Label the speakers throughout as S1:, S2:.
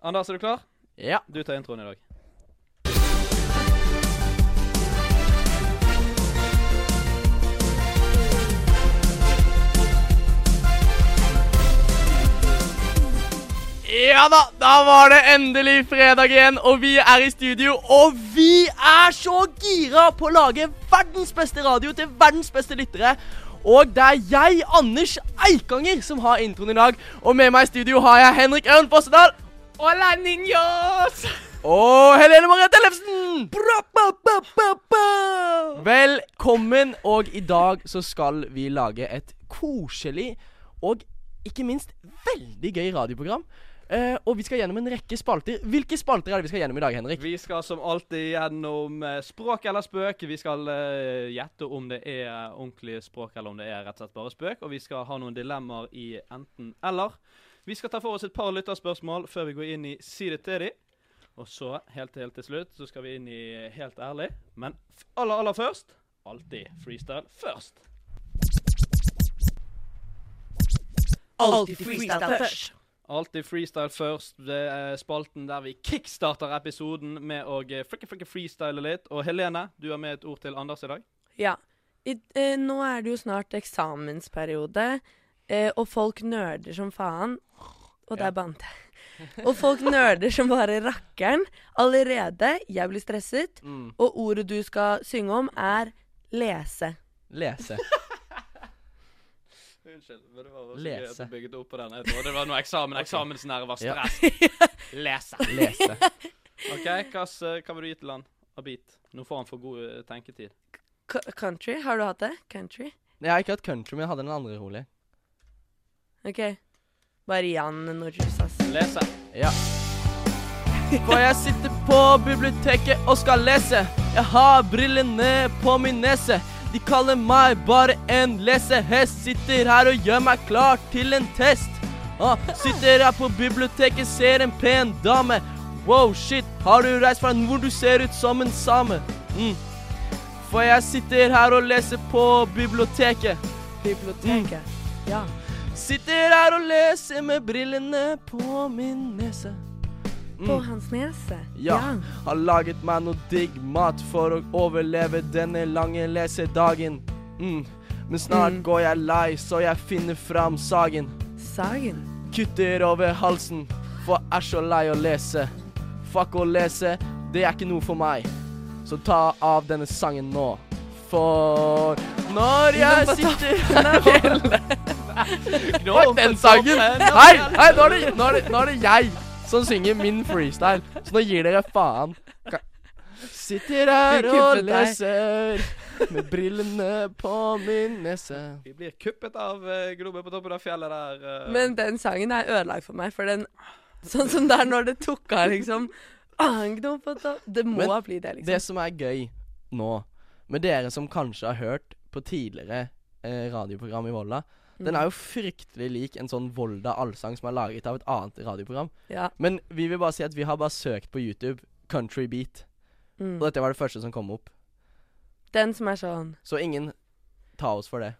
S1: Anders, er du klar?
S2: Ja.
S1: Du tar introen i dag.
S2: Ja da, da var det endelig fredag igjen, og vi er i studio. Og vi er så gira på å lage verdens beste radio til verdens beste lyttere. Og det er jeg, Anders Eikanger, som har introen i dag. Og med meg i studio har jeg Henrik Ørn Fossedal. Hola, niños! Og Helene Marie Tellefsen. Velkommen, og i dag så skal vi lage et koselig og ikke minst veldig gøy radioprogram. Eh, og vi skal gjennom en rekke spalter. Hvilke spalter er det vi skal gjennom i dag, Henrik?
S1: Vi skal som alltid gjennom eh, språk eller spøk. Vi skal eh, gjette om det er ordentlig språk eller om det er rett og slett bare spøk. Og vi skal ha noen dilemmaer i enten eller. Vi skal ta for oss et par lytterspørsmål før vi går inn i Si det til de. Og så, helt, helt til slutt, så skal vi inn i Helt ærlig. Men f- aller, aller først alltid freestyle først.
S3: Alltid freestyle først.
S1: Alltid freestyle først. Det er spalten der vi kickstarter episoden med å eh, frikke, frikke freestyle litt. Og Helene, du har med et ord til Anders i dag.
S3: Ja. I, eh, nå er det jo snart eksamensperiode, eh, og folk nerder som faen. Og der
S1: Ja.
S3: bandt jeg. Og folk nerder som bare rakkeren. Allerede. Jeg blir stresset.
S2: Mm,
S3: Og ordet du skal synge om, er lese.
S2: Lese.
S1: Unnskyld, men det var så gøy at
S2: Lese.
S1: du bygget opp på den. Jeg tror det var noe eksamen. Eksamensnære var
S2: Ja.
S1: stress. Lese.
S2: Lese.
S1: OK, hva, s- eh, hva vil du gi til han? Abit. Nå får han for god eh, tenketid.
S3: K country. Har du hatt det? Country?
S2: Jeg har ikke hatt country, men jeg hadde den andre rolig.
S3: OK. Bare gi han noe juice, ass.
S1: Lese.
S2: Ja. For jeg sitter på biblioteket og skal lese. Jeg har brillene på min nese. De kaller meg bare en lesehest. Sitter her og gjør meg klar til en test. Ah, sitter her på biblioteket, ser en pen dame. Wow, shit, har du reist fra hvor du ser ut som en same? Mm. For jeg sitter her og leser på biblioteket.
S3: Biblioteket. Ja.
S2: Sitter her og leser med brillene på min nese.
S3: På
S2: Mm.
S3: hans nese.
S2: Ja. Har laget meg noe digg mat for å overleve denne lange lesedagen. Mm. Men snart
S3: Mm.
S2: går jeg lei, så jeg finner fram sagen.
S3: Sagen.
S2: Kutter over halsen, for jeg er så lei å lese. Fuck å lese, det er ikke noe for meg. Så ta av denne sangen nå. For når jeg sitter her Fuck den sangen!
S1: eh,
S2: Nei, nei nå, er det, nå, er det, nå er det jeg som synger min freestyle. Så nå gir dere faen. Ka- Sitter her
S3: Du
S2: og
S3: kuppet deg.
S2: leser med brillene på min nese.
S1: Vi blir kuppet av eh, Globen på toppen av fjellet der. eh.
S3: Men den sangen er ødelagt for meg, for den Sånn som der når det tok av, liksom. Agno på topp. Det må
S2: Men
S3: bli det,
S2: Det
S3: liksom.
S2: som er gøy nå, med dere som kanskje har hørt på tidligere eh, radioprogram i Volda,
S3: Mm.
S2: den er jo fryktelig lik en sånn Volda allsang som er laget av et annet radioprogram.
S3: Mm. Ja.
S2: Men vi vil bare si at vi har bare søkt på YouTube Country Beat, og
S3: Mm.
S2: dette var det første som kom opp.
S3: Den som er sånn
S2: Så ingen ta oss for det.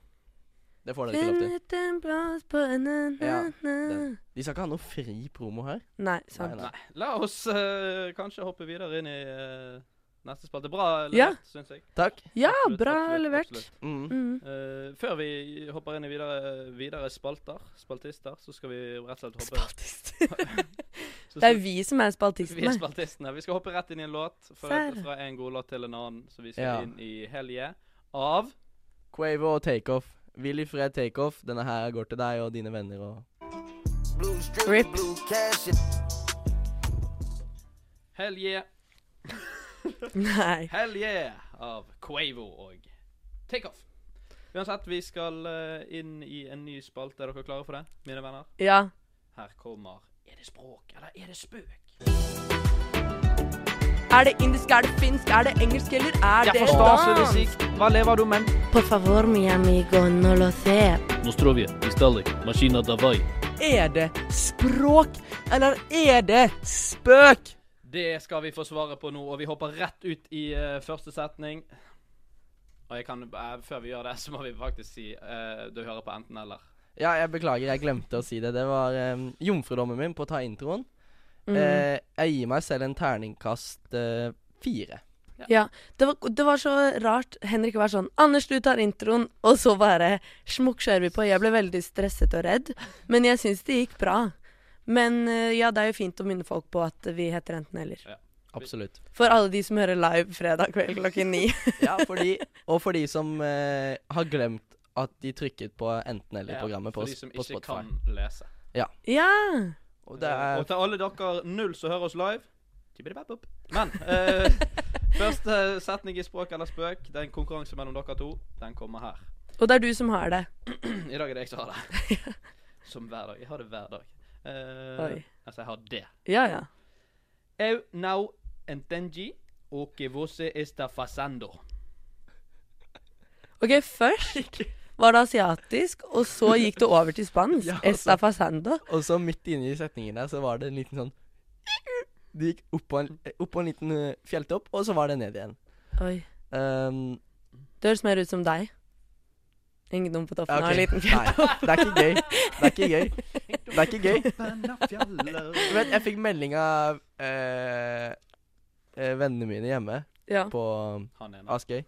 S2: Det får dere ikke lov til.
S3: Finn ut en plass på en
S2: Ja,
S3: na-na-na.
S2: den. De skal ikke ha noe fri promo her.
S3: Nei, sant.
S2: Nei,
S1: Nei. La oss eh, kanskje hoppe videre inn i eh, neste spalte. Bra levert,
S3: Ja.
S1: syns jeg.
S2: Takk.
S3: Ja,
S1: Absolutt,
S3: bra
S1: absolutt,
S3: levert.
S1: absolutt.
S2: Mm.
S3: Mm.
S1: Eh, før vi hopper inn i videre, videre spalter, spaltister, så skal vi rett og slett hoppe
S3: Spaltist.
S1: så
S3: Det er
S1: skal-
S3: vi som
S1: vi
S3: er
S1: er
S3: spaltistene.
S1: spaltistene. Vi skal hoppe rett inn i en låt. Fra,
S3: Serr.
S1: fra en god låt til en annen. Så vi skal
S2: Ja.
S1: inn i helje av
S2: Quavo og takeoff. Willy Fred takeoff. Denne her går til deg og dine venner og
S3: Rip.
S1: Helje
S3: Nei.
S1: Helje av Quavo og Takeoff. Uansett, vi skal eh, inn i en ny spalte. Er dere klare for det, mine venner?
S3: Ja.
S1: Her kommer Er det språk, eller er det spøk?
S3: Er det indisk, er det finsk, er det engelsk, eller er det dans?
S1: Hva lever du med?
S3: Por favor, mi amigo, no lo sé.
S4: Nostrovje, Vistalik, Maskina Davai.
S2: Er det språk, eller er det spøk?
S1: Det skal vi få svaret på nå, og vi hopper rett ut i eh, første setning. Og jeg kan, eh, før vi gjør det, så må vi faktisk si eh, du hører på enten eller.
S2: Ja, jeg beklager, jeg glemte å si det. Det var eh, jomfrudommen min på å ta introen.
S3: Mm.
S2: Eh, jeg gir meg selv en terningkast eh, fire.
S3: Ja, det var, det var så rart Henrik var sånn 'Anders, du tar introen', og så bare smukk kjører vi på. Jeg ble veldig stresset og redd, men jeg syns det gikk bra. Men eh, ja, det er jo fint å minne folk på at vi heter Enten eller.
S2: Absolutt.
S3: For alle de som hører live fredag kveld klokken ni.
S2: Ja, for de, og for de som eh, har glemt at de trykket på enten-eller-programmet på,
S1: For de
S2: s-
S1: som
S2: på
S1: ikke
S2: Spotify.
S1: kan lese.
S3: ja!
S2: Og det er
S1: Og til alle dere null som hører oss live tibbidi-bap-bop. Men eh, første setning i Språk eller spøk, det er en konkurranse mellom dere to. Den kommer her.
S3: Og det er du som har det.
S1: I dag er det jeg som har det. Som hver dag. Jeg har det hver dag. Eh,
S3: Oi.
S1: altså, jeg har det.
S3: Ja, ja.
S1: Eu now entendi o que você está fazendo.
S3: Ok, først var det asiatisk, og så gikk det over til spansk.
S2: Ja, altså.
S3: Esta fasando.
S2: Og så midt inne i setningen der, så var det en liten sånn Det gikk opp på en, opp på en liten eh, fjelltopp, og så var det ned igjen.
S3: Oi.
S2: Um,
S3: Det høres mer ut som deg. Ingen på toppen
S2: ja,
S3: av en
S2: ok.
S3: liten fjell.
S2: Nei, det er ikke gøy. Det er ikke gøy. Det er ikke gøy. Du vet, jeg fikk melding av eh, eh, vennene mine hjemme
S3: Ja.
S2: på eh,
S1: Han ene.
S2: Askøy.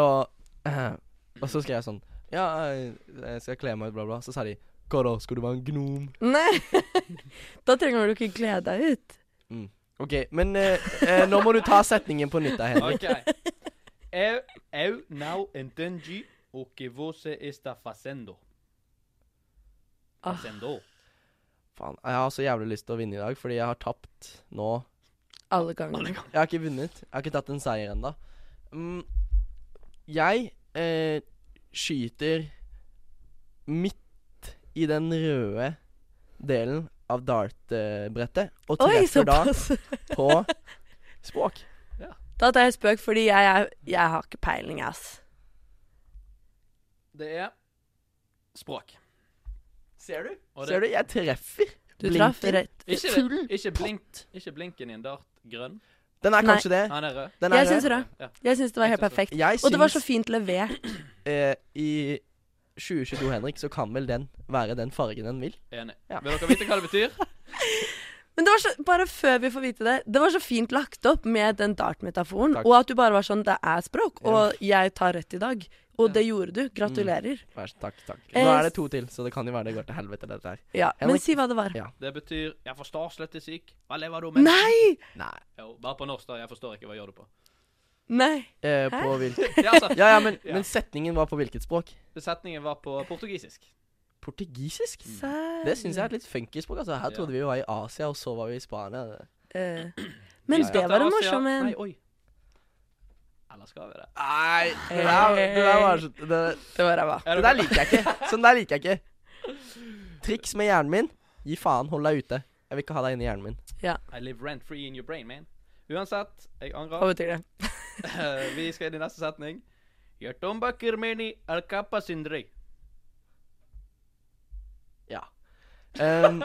S2: Og, eh, og så skrev jeg sånn Ja, eh, jeg skal kle meg ut, bla, bla. Så sa de Hva da, skal du være en gnom?
S3: Nei! da trenger du ikke kle deg ut.
S2: OK, men eh, eh, nå må du ta setningen på nytt, da, Henrik.
S1: Ok. Eu, eu não entendi o que você está fazendo.
S3: Ah.
S1: Fazendo.
S2: Faen, jeg har så jævlig lyst til å vinne i dag, fordi jeg har tapt nå.
S3: Alle ganger.
S2: Jeg har ikke vunnet. Jeg har ikke tatt en seier ennå. Mm, jeg eh, skyter midt i den røde delen av dartbrettet, og
S3: Oi,
S2: treffer da
S3: såpass!
S2: på språk.
S3: Da tar jeg spøk, fordi jeg, er- jeg har ikke peiling, ass.
S1: Det er språk.
S2: Ser du?
S1: Og det-
S2: Ser du? Jeg treffer.
S3: Du
S2: Blinken.
S3: traff rett.
S1: Ikke,
S3: Tull.
S1: ikke, blink, ikke blinken i en dart grønn.
S2: Den er
S3: Nei.
S2: kanskje det.
S1: Han er rød.
S2: Den er
S3: Jeg syns
S2: rød.
S3: det.
S1: Ja.
S3: Jeg syns det var helt
S1: Jeg syns det.
S3: perfekt.
S2: Jeg
S3: Og det var
S2: syns,
S3: så fint levert.
S2: eh, I 2022, Henrik, så kan vel den være den fargen den vil.
S1: Enig.
S2: Ja.
S1: Vil dere vite hva det betyr?
S3: Men det var så, bare før vi får vite det, det var så fint lagt opp med den dartmetaforen.
S2: Takk.
S3: Og at du bare var sånn Det er språk, og jeg tar rett i dag. Og det gjorde du. Gratulerer.
S2: Vær så takk, takk.
S3: Eh,
S2: Nå er det to til, så det kan jo være det går til helvete, dette her.
S3: Ja, Men
S2: Henrik-
S3: si hva det var.
S2: Ja.
S1: Det betyr 'jeg forstår slett ikke sikk'. Hva lever du med?
S3: Nei!
S2: Nei.
S1: Jo, bare på norsk, da. Jeg forstår ikke. Hva gjør du på?
S3: Nei.
S2: Eh, på hvilket
S1: Ja, altså,
S2: Ja, ja, men,
S1: Ja.
S2: men setningen var på hvilket språk?
S1: setningen var på portugisisk.
S2: Portugisisk?
S3: Serr.
S2: Mm. Det syns jeg er et litt funky språk. Altså. Her
S1: Ja.
S2: trodde vi vi var i Asia, og så var vi i Spania.
S3: Eh, Men
S1: Vi skal
S3: det
S1: til
S3: var en
S1: Asia.
S3: morsom en.
S1: Nei, oi. Eller skal vi det?
S2: Nei, det
S3: der- det der var
S2: så det,
S3: Det var ræva.
S1: Er
S2: der liker jeg ikke. Sånn der liker jeg ikke. Triks med hjernen min. Gi faen, hold deg ute. Jeg vil ikke ha deg inni hjernen min.
S1: I live rent free in your brain, man. Uansett, jeg angrer.
S3: Hva betyr det?
S1: Eh, vi skal inn i neste setning. Yatomba kirmeni alkapa sindri.
S2: Ja. Ehm,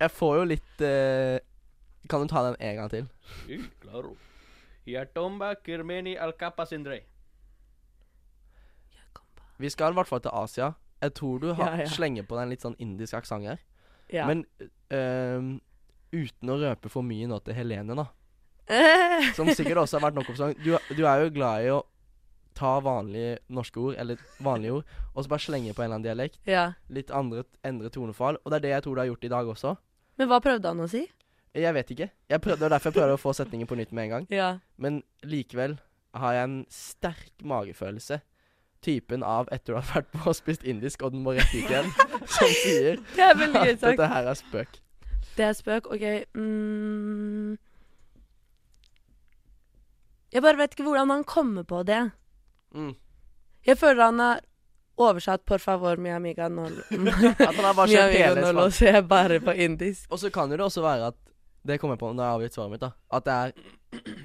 S2: jeg får jo litt eh, Kan du ta den en gang til?
S1: Ih, Klaro. Yatomba kirmeni alkapa sindri.
S2: Vi skal i hvert fall til Asia. Jeg tror du har,
S3: Ja, ja.
S2: slenger på deg en litt sånn indisk aksent her.
S3: Ja.
S2: Men ehm, uten å røpe for mye nå til Helene, da.
S3: Eh,
S2: Som sikkert også har vært nok oppsang. Du, du er jo glad i å ta vanlige norske ord, eller vanlige ord, og så bare slenge på en eller annen dialekt.
S3: ja.
S2: Litt andre, endre tonefall. Og det er det jeg tror du har gjort i dag også.
S3: Men hva prøvde han å si?
S2: Jeg vet ikke. Jeg prøvde, det er derfor jeg prøver å få setningen på nytt med en gang.
S3: Ja.
S2: Men likevel har jeg en sterk magefølelse. Typen av etter du har vært på og spist indisk, og den må rett ut igjen, som sier
S3: Det er veldig gøy
S2: at
S3: sagt.
S2: dette her er spøk.
S3: Det er spøk. OK. Mm. Jeg bare vet ikke hvordan han kommer på det.
S2: Mm.
S3: Jeg føler han har oversatt 'por favor, mi amiga no, mi
S2: At han har bare skjønt
S3: amiga
S2: hele
S3: no lo
S2: spansk.
S3: se bare på indisk.
S2: Og så kan jo det også være at Det kommer jeg på når jeg har avgitt svaret mitt, da. At det er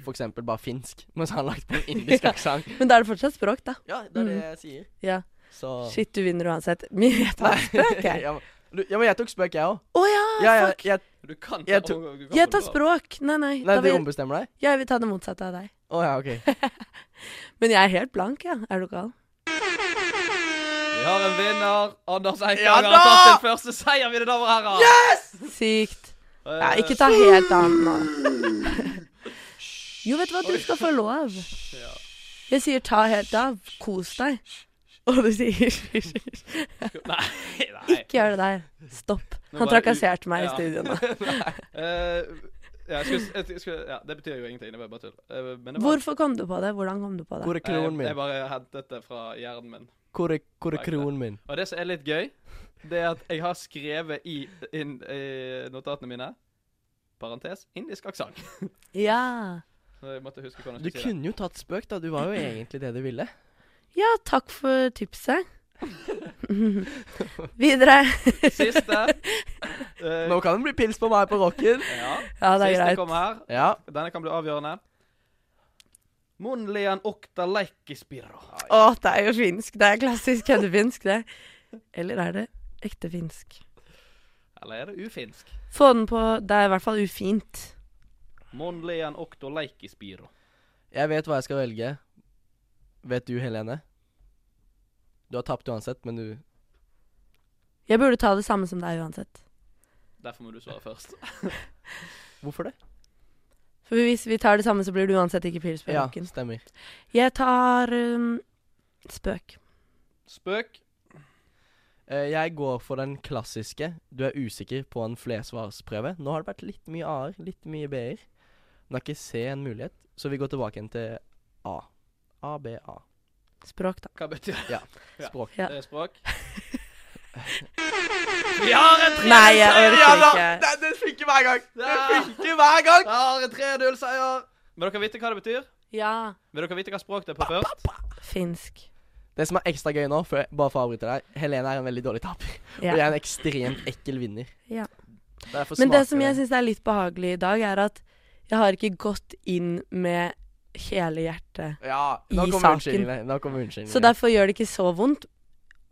S2: for eksempel bare finsk, mens han har lagt på en indisk
S3: Ja.
S2: aksent.
S3: Men da er det fortsatt språk, da.
S2: Ja, det er det jeg sier.
S3: Ja.
S2: Så
S3: Shit, du vinner uansett. Vi vet hva spøk er.
S2: Ah. ja, men- du- ja, men jeg tok spøk, jeg òg.
S3: Å ja!
S2: Ja, jeg, jeg,
S1: Du kan
S2: Jeg tok-
S1: du kan
S3: Jeg tar
S1: få lov.
S3: språk. Nei, nei.
S2: nei,
S3: da
S2: du
S3: vil,
S2: ombestemmer deg?
S3: jeg vil ta det motsatte av deg.
S2: Å ja, OK.
S3: Men jeg er helt blank, ja. Er du gal?
S1: Vi har en vinner. Anders Eikanger
S2: Ja
S1: har
S2: da!
S1: tatt sin første seier, mine damer og herrer.
S3: Sykt.
S1: Eh,
S3: Ja, ikke ta helt av nå. Jo, vet du hva? Du skal få lov.
S1: Ja.
S3: Jeg sier ta helt av. Kos deg. Og du sier hysj, hysj.
S1: Nei, nei.
S3: Ikke gjør det der. Stopp.
S1: Nå
S3: Han
S1: bare-
S3: trakasserte meg i
S1: Ja.
S3: studio nå.
S1: Eh, ja, jeg skulle, jeg skulle, ja, det betyr jo ingenting. Det var jo bare tull. Eh, men det var,
S3: Hvorfor kom du på det? Hvordan kom du på det?
S2: Hvor er kroen
S1: jeg,
S2: min?
S1: jeg bare hentet det fra hjernen min.
S2: Hvor er, hvor er kroen min?
S1: Og det som er litt gøy, det er at jeg har skrevet i, inn, i notatene mine Parentes indisk aksent.
S3: Ja.
S1: Så jeg måtte huske hvordan
S2: Du
S1: jeg skulle si det.
S2: kunne jo tatt spøk, da. Du var jo egentlig det du ville.
S3: Ja, takk for tipset. Videre.
S1: Siste. Eh,
S2: Nå kan det bli pils på meg på rocken.
S1: ja.
S3: Ja, det er
S1: Siste
S3: greit.
S1: kommer her.
S2: Ja.
S1: Denne kan bli avgjørende. Munlian okta leikispirro.
S3: Å, det er jo finsk. Det er klassisk køddefinsk, det. Eller er det ekte finsk?
S1: Eller er det ufinsk?
S3: Få den på Det er i hvert fall ufint.
S1: Munlian okta leikispirro.
S2: Jeg vet hva jeg skal velge. Vet du, Helene? Du har tapt uansett, men du
S3: Jeg burde ta det samme som deg uansett.
S1: Derfor må du svare først.
S2: Hvorfor det?
S3: For hvis vi tar det samme, så blir det uansett ikke pils på
S2: Ja,
S3: rocken.
S2: stemmer.
S3: Jeg tar um, spøk.
S1: Spøk.
S2: Eh, jeg går for den klassiske. Du er usikker på en flersvarsprøve. Nå har det vært litt mye A-er, litt mye B-er. Men det er ikke C en mulighet, så vi går tilbake igjen til A. A, B, A.
S3: Språk, da.
S1: Hva betyr det? Ja.
S2: Språk.
S3: Ja.
S1: det? er Språk? Vi har en
S3: Nei, jeg orker ikke.
S2: Det, det funker hver gang!
S1: Ja.
S2: funker hver gang!
S1: Jeg har en 3-0-seier! Vil dere vite hva det betyr?
S3: Ja.
S1: Vil dere vite hva språk det er på først?
S3: Finsk.
S2: Det som er ekstra gøy nå, før, bare for å avbryte deg Helene er en veldig dårlig taper. Og jeg
S3: Ja.
S2: er en ekstremt ekkel vinner.
S3: Ja.
S2: Derfor
S3: Men det
S2: smaker
S3: som jeg syns er litt behagelig i dag, er at jeg har ikke gått inn med hele hjertet.
S2: ja, nå
S3: i
S2: kommer
S3: saken.
S2: unnskyldningene. Nå kommer unnskyldningene.
S3: Så derfor gjør det ikke så vondt.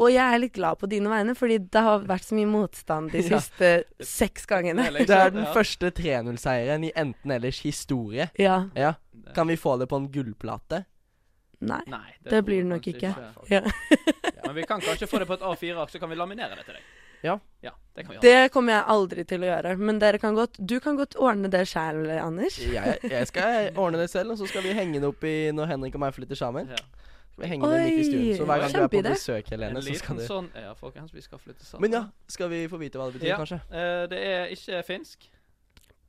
S3: Og jeg er litt glad på dine vegne, fordi det har vært så mye motstand de
S2: Ja.
S3: siste seks gangene.
S2: Det er den første 3-0-seieren i enten ellers historie.
S3: Ja.
S2: Ja.
S1: første
S2: Kan vi få det på en gullplate?
S3: Nei.
S1: Nei,
S3: Det
S1: tror
S3: blir
S1: jeg
S3: det nok
S1: kanskje
S3: ikke.
S2: Fuck.
S3: Ja.
S1: Men vi kan kanskje få det på et A4-ark, så kan vi laminere det til deg.
S2: Ja.
S1: Ja, Det kan vi gjøre.
S3: Det kommer jeg aldri til å gjøre, men dere kan godt Du kan godt ordne det sjæl, Anders.
S2: Jeg, jeg skal ordne det selv, og så skal vi henge det opp i når Henrik og meg flytter sammen.
S1: Ja.
S2: Skal vi henge det midt i stuen, Så hver gang du er på
S3: Kjempeidé.
S2: besøk,
S1: En
S2: Helene, så skal
S1: liten
S2: du
S1: sånn Ja, folkens, vi skal flytte sammen.
S2: Men ja, skal vi få vite hva det betyr,
S1: Ja.
S2: kanskje?
S1: Eh, det er ikke finsk.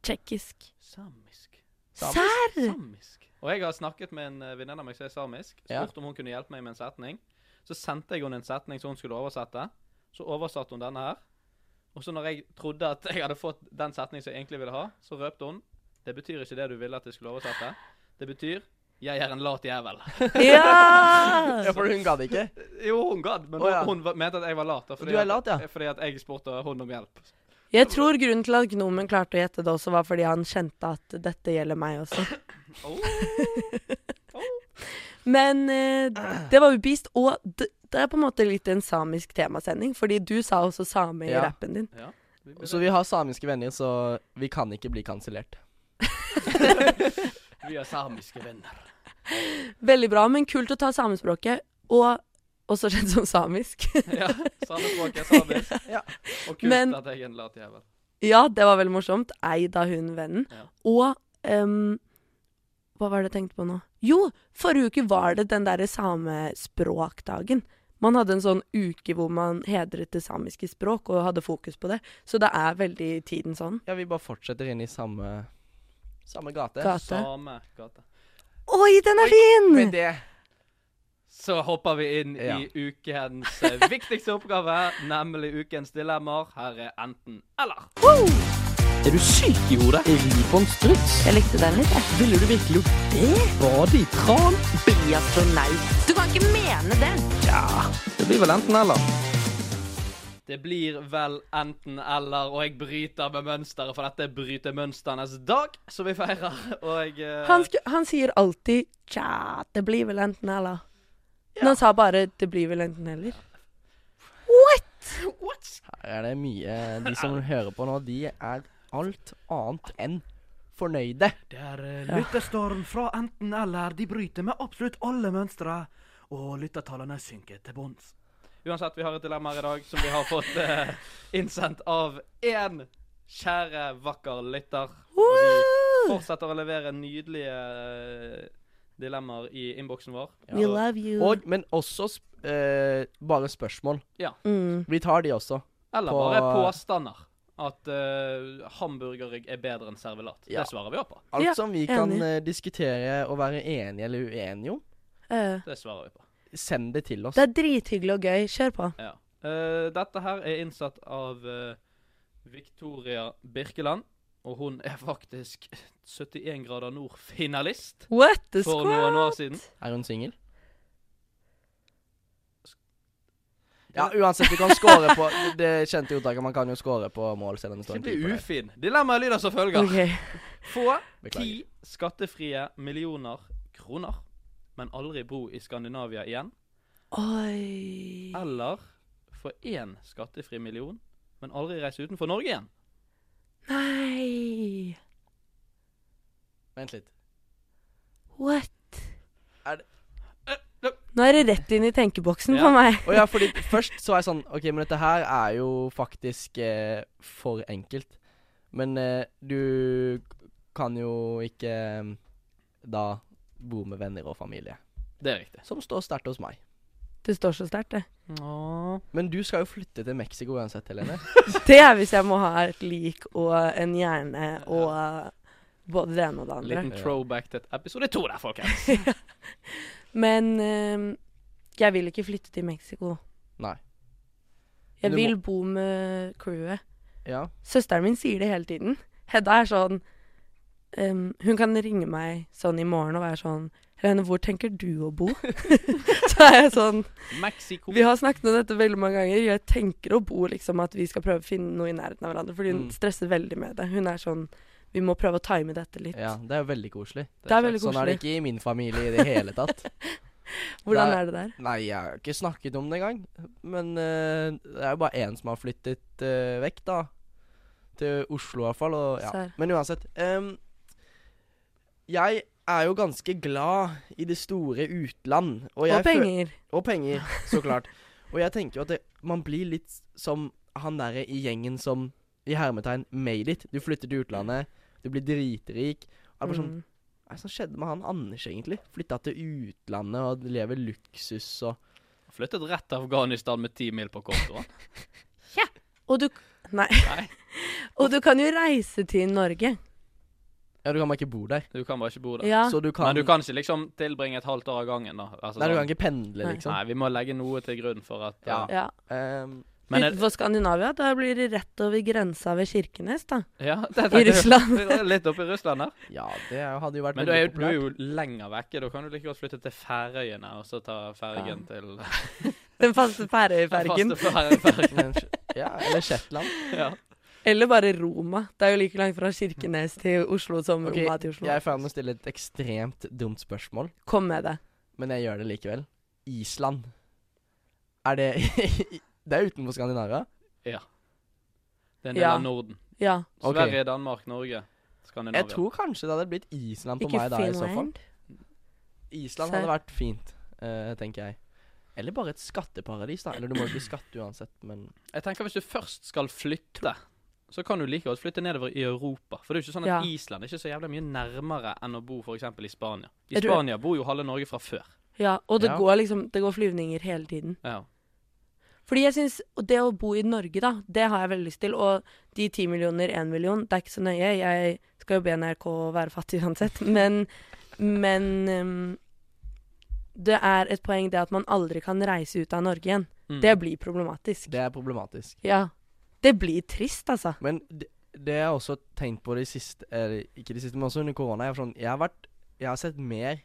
S3: Tsjekkisk.
S1: Samisk.
S3: Serr!
S1: Samisk. Og jeg har snakket med en eh, venninne av meg som er samisk.
S2: Ja.
S1: Spurt om hun kunne hjelpe meg med en setning. Så sendte jeg henne en setning som hun skulle oversette. Så oversatte hun denne her. Og så når jeg trodde at jeg hadde fått den setningen som jeg egentlig ville ha, så røpte hun Det betyr ikke det du ville at jeg skulle oversette. Det betyr 'jeg er en lat jævel'.
S2: Ja,
S3: Ja!
S2: for hun gadd ikke.
S1: Jo, hun gadd, men
S2: Å, ja.
S1: hun, hun var- mente at jeg var lat. da, Fordi
S2: Du er lat, ja.
S1: At, fordi at jeg spurte hun om hjelp.
S3: Jeg tror grunnen til at gnomen klarte å gjette det også, var fordi han kjente at dette gjelder meg også.
S1: Oh.
S3: Men eh, det var jo beast, og det, det er på en måte litt en samisk temasending, fordi du sa også same i
S2: Ja.
S3: rappen din.
S1: Ja. vi ble-
S2: Så vi har samiske venner, så vi kan ikke bli kansellert.
S1: vi er samiske venner.
S3: Veldig bra, men kult å ta samespråket, og også kjent som samisk.
S1: ja, Samme språk er samisk.
S2: Ja.
S1: Og kult
S3: Men-
S1: at jeg er en lat jævel.
S3: ja, det var veldig morsomt. Eid av hun vennen.
S1: Ja.
S3: Og ehm, hva var det jeg tenkte på nå? Jo, forrige uke var det den derre samespråkdagen. Man hadde en sånn uke hvor man hedret det samiske språk og hadde fokus på det. Så det er veldig i tiden sånn.
S2: Ja, vi bare fortsetter inn i samme Samme gate.
S3: Gate.
S1: Same gate.
S3: Oi, den er fin!
S2: Med det
S1: Så hopper vi inn
S2: Ja.
S1: i ukens eh, viktigste oppgave, nemlig ukens dilemmaer. Her er enten eller.
S4: Er du syk i hodet? Er du på en struts?
S3: Jeg likte den litt, jeg.
S4: Ville du virkelig gjort det? Bade i tran?
S3: Bli astronaut. Du kan ikke mene det.
S4: Det blir vel enten eller.
S1: Det blir vel enten eller, og jeg bryter med mønsteret, for dette er brytemønsternes dag, som vi feirer. Og eh,
S3: Han, sku, han sier alltid tja, det blir vel enten eller. Men han sa bare det blir vel enten eller.
S1: What?
S2: her er det mye De som hører på nå, de er alt annet enn fornøyde.
S1: Det er lyttestorm fra enten eller. De bryter med absolutt alle mønstre. Og lyttertallene synker til bunns. Uansett, vi har et dilemma her i dag som vi har fått eh, innsendt av én Kjære vakker lytter. Og de
S3: Woo!
S1: fortsetter å levere nydelige eh, dilemmaer i innboksen vår.
S3: We
S1: Så-
S3: love you.
S2: Og, men også sp eh, bare spørsmål.
S3: mm.
S2: Vi tar de også.
S1: Eller
S2: på-
S1: bare påstander. At eh, hamburgerrygg er bedre enn servelat.
S2: Ja.
S1: Det svarer vi også på.
S2: Alt
S3: Ja,
S2: som vi kan
S3: enig.
S2: eh, diskutere og være enige eller uenige om,
S3: Eh,
S1: Det svarer vi på.
S2: send det til oss.
S3: det er drithyggelig og gøy. Kjør på.
S1: Ja. Eh, dette her er innsatt av eh, Victoria Birkeland. Og hun er faktisk 71 grader nord-finalist
S3: What the
S1: for noen
S3: squad?
S1: år siden.
S2: Er hun singel? Ja, uansett, vi kan score på det kjente uttaket. Man kan jo score på mål selv om det står
S1: Ikke
S2: en
S1: bli
S2: tid på det.
S1: ufin. Dilemmaet lyder som følger.
S3: Ok.
S1: Få
S2: Beklager.
S1: ti skattefrie millioner kroner, men aldri bo i Skandinavia igjen.
S3: Oi
S1: Eller få én skattefri million, men aldri reise utenfor Norge igjen.
S3: Nei.
S2: Vent litt.
S3: What?
S2: Er det-
S3: Nå er det rett inn i tenkeboksen
S1: Ja.
S3: for meg.
S2: Å ja, fordi først så var jeg sånn OK, men dette her er jo faktisk eh, for enkelt. Men eh, du kan jo ikke eh, da bo med venner og familie.
S1: Det er riktig.
S2: Som står sterkt hos meg.
S3: Det står så sterkt, det.
S2: Men du skal jo flytte til Mexico uansett, Helene.
S3: Det er hvis jeg må ha et lik og en hjerne og eh, både det ene og det andre.
S1: Liten throwback til et episode to der, folkens.
S3: Men eh, jeg vil ikke flytte til Mexico.
S2: Nei. Men
S3: Jeg
S2: du
S3: vil bo med crewet.
S2: Ja.
S3: Søsteren min sier det hele tiden. Hedda er sånn ehm, Hun kan ringe meg sånn i morgen og være sånn Helene, hvor tenker du å bo? så er jeg sånn
S1: Mexico.
S3: Vi har snakket om dette veldig mange ganger. Jeg tenker og bor liksom at vi skal prøve å finne noe i nærheten av hverandre, fordi hun
S2: Mm.
S3: stresser veldig med det. Hun er sånn Vi må prøve å time dette litt.
S2: ja. Det er jo veldig koselig.
S3: Det er veldig
S2: Sånn er det
S3: koselig.
S2: ikke i min familie i det hele tatt.
S3: Hvordan
S2: det er-
S3: er det der?
S2: Nei, jeg har jo ikke snakket om det engang. Men eh, det er jo bare én som har flyttet eh, vekk, da. Til Oslo, i hvert fall. Og, ja.
S3: Serr.
S2: Men uansett. em, jeg er jo ganske glad i det store utland. Og,
S3: Og
S2: jeg fø-
S3: penger.
S2: Og penger, så klart. og jeg tenker jo at det, man blir litt som han derre i gjengen som i hermetegn made it. Du flytter til utlandet, du blir dritrik. Og det er bare sånn
S3: Mm.
S2: Hva er det som skjedde med han Anders, egentlig? Flytta til utlandet og lever luksus og
S1: Flyttet rett til Afghanistan med ti mil på kontoen.
S3: Og du Nei.
S1: Nei.
S3: og du kan jo reise til Norge.
S2: Ja, du kan bare ikke bo der.
S1: Du kan bare ikke bo der.
S3: Ja.
S2: Så du kan,
S1: Men du kan ikke liksom tilbringe et halvt år av gangen, da. Altså,
S2: Nei, du
S1: sånn-
S2: kan ikke pendle,
S3: Nei.
S2: liksom.
S1: Nei, vi må legge noe til grunn for at
S2: Ja.
S1: eh,
S3: ja.
S2: Ehm,
S1: Men er,
S3: Utenfor Skandinavia, da blir det rett over grensa ved Kirkenes, da.
S1: ja, det
S3: I
S1: tenkte jeg.
S3: Russland.
S1: Litt oppe i Russland der.
S2: ja, det er jo- hadde jo vært
S1: Men du er, jo,
S2: veldig
S1: du er
S2: populært.
S1: jo lenger vekke. Da kan du like godt flytte til Færøyene og så ta fergen til
S3: Den faste Færøyfergen.
S1: Faste Færøyfergen,
S2: Men sj- Ja, eller Shetland.
S1: ja.
S3: Eller bare Roma. Det er jo like langt fra Kirkenes til Oslo som
S2: Ok,
S3: Roma til Oslo.
S2: Jeg er i ferd med å stille et ekstremt dumt spørsmål.
S3: Kom med det.
S2: Men jeg gjør det likevel. Island. Er det Det er utenfor Skandinavia?
S1: Det er en del
S3: Ja.
S1: av Norden.
S3: Ja.
S2: Ok.
S1: Sverige, Danmark, Norge, Skandinavia.
S2: Jeg tror kanskje det hadde blitt Island på
S3: Ikke
S2: meg da, i så fall.
S3: Finland.
S2: Island
S3: Serr.
S2: hadde vært fint, eh, tenker jeg. Eller bare et skatteparadis, da. Eller du må jo ikke skatte uansett, men
S1: Jeg tenker Hvis du først skal flytte, så kan du like godt flytte nedover i Europa. For det er jo ikke sånn at
S3: Ja.
S1: Island er ikke så jævlig mye nærmere enn å bo for eksempel i Spania. I
S3: Jeg tror-
S1: Spania bor jo halve Norge fra før.
S3: Ja, og det
S2: Ja.
S3: går liksom Det går flyvninger hele tiden.
S1: Ja.
S3: Fordi jeg syns Det å bo i Norge, da, det har jeg veldig lyst til. Og de ti millioner, én million, det er ikke så nøye. Jeg skal jo be NRK å være fattig uansett. Men, men um, det er et poeng det at man aldri kan reise ut av Norge igjen.
S1: Mm.
S3: Det blir problematisk.
S2: det er problematisk.
S3: Ja. Det blir trist, altså.
S2: Men det, det jeg også har tenkt på de siste Eller ikke de siste, men også under korona. Jeg, er sånn, jeg, har vært, jeg har sett mer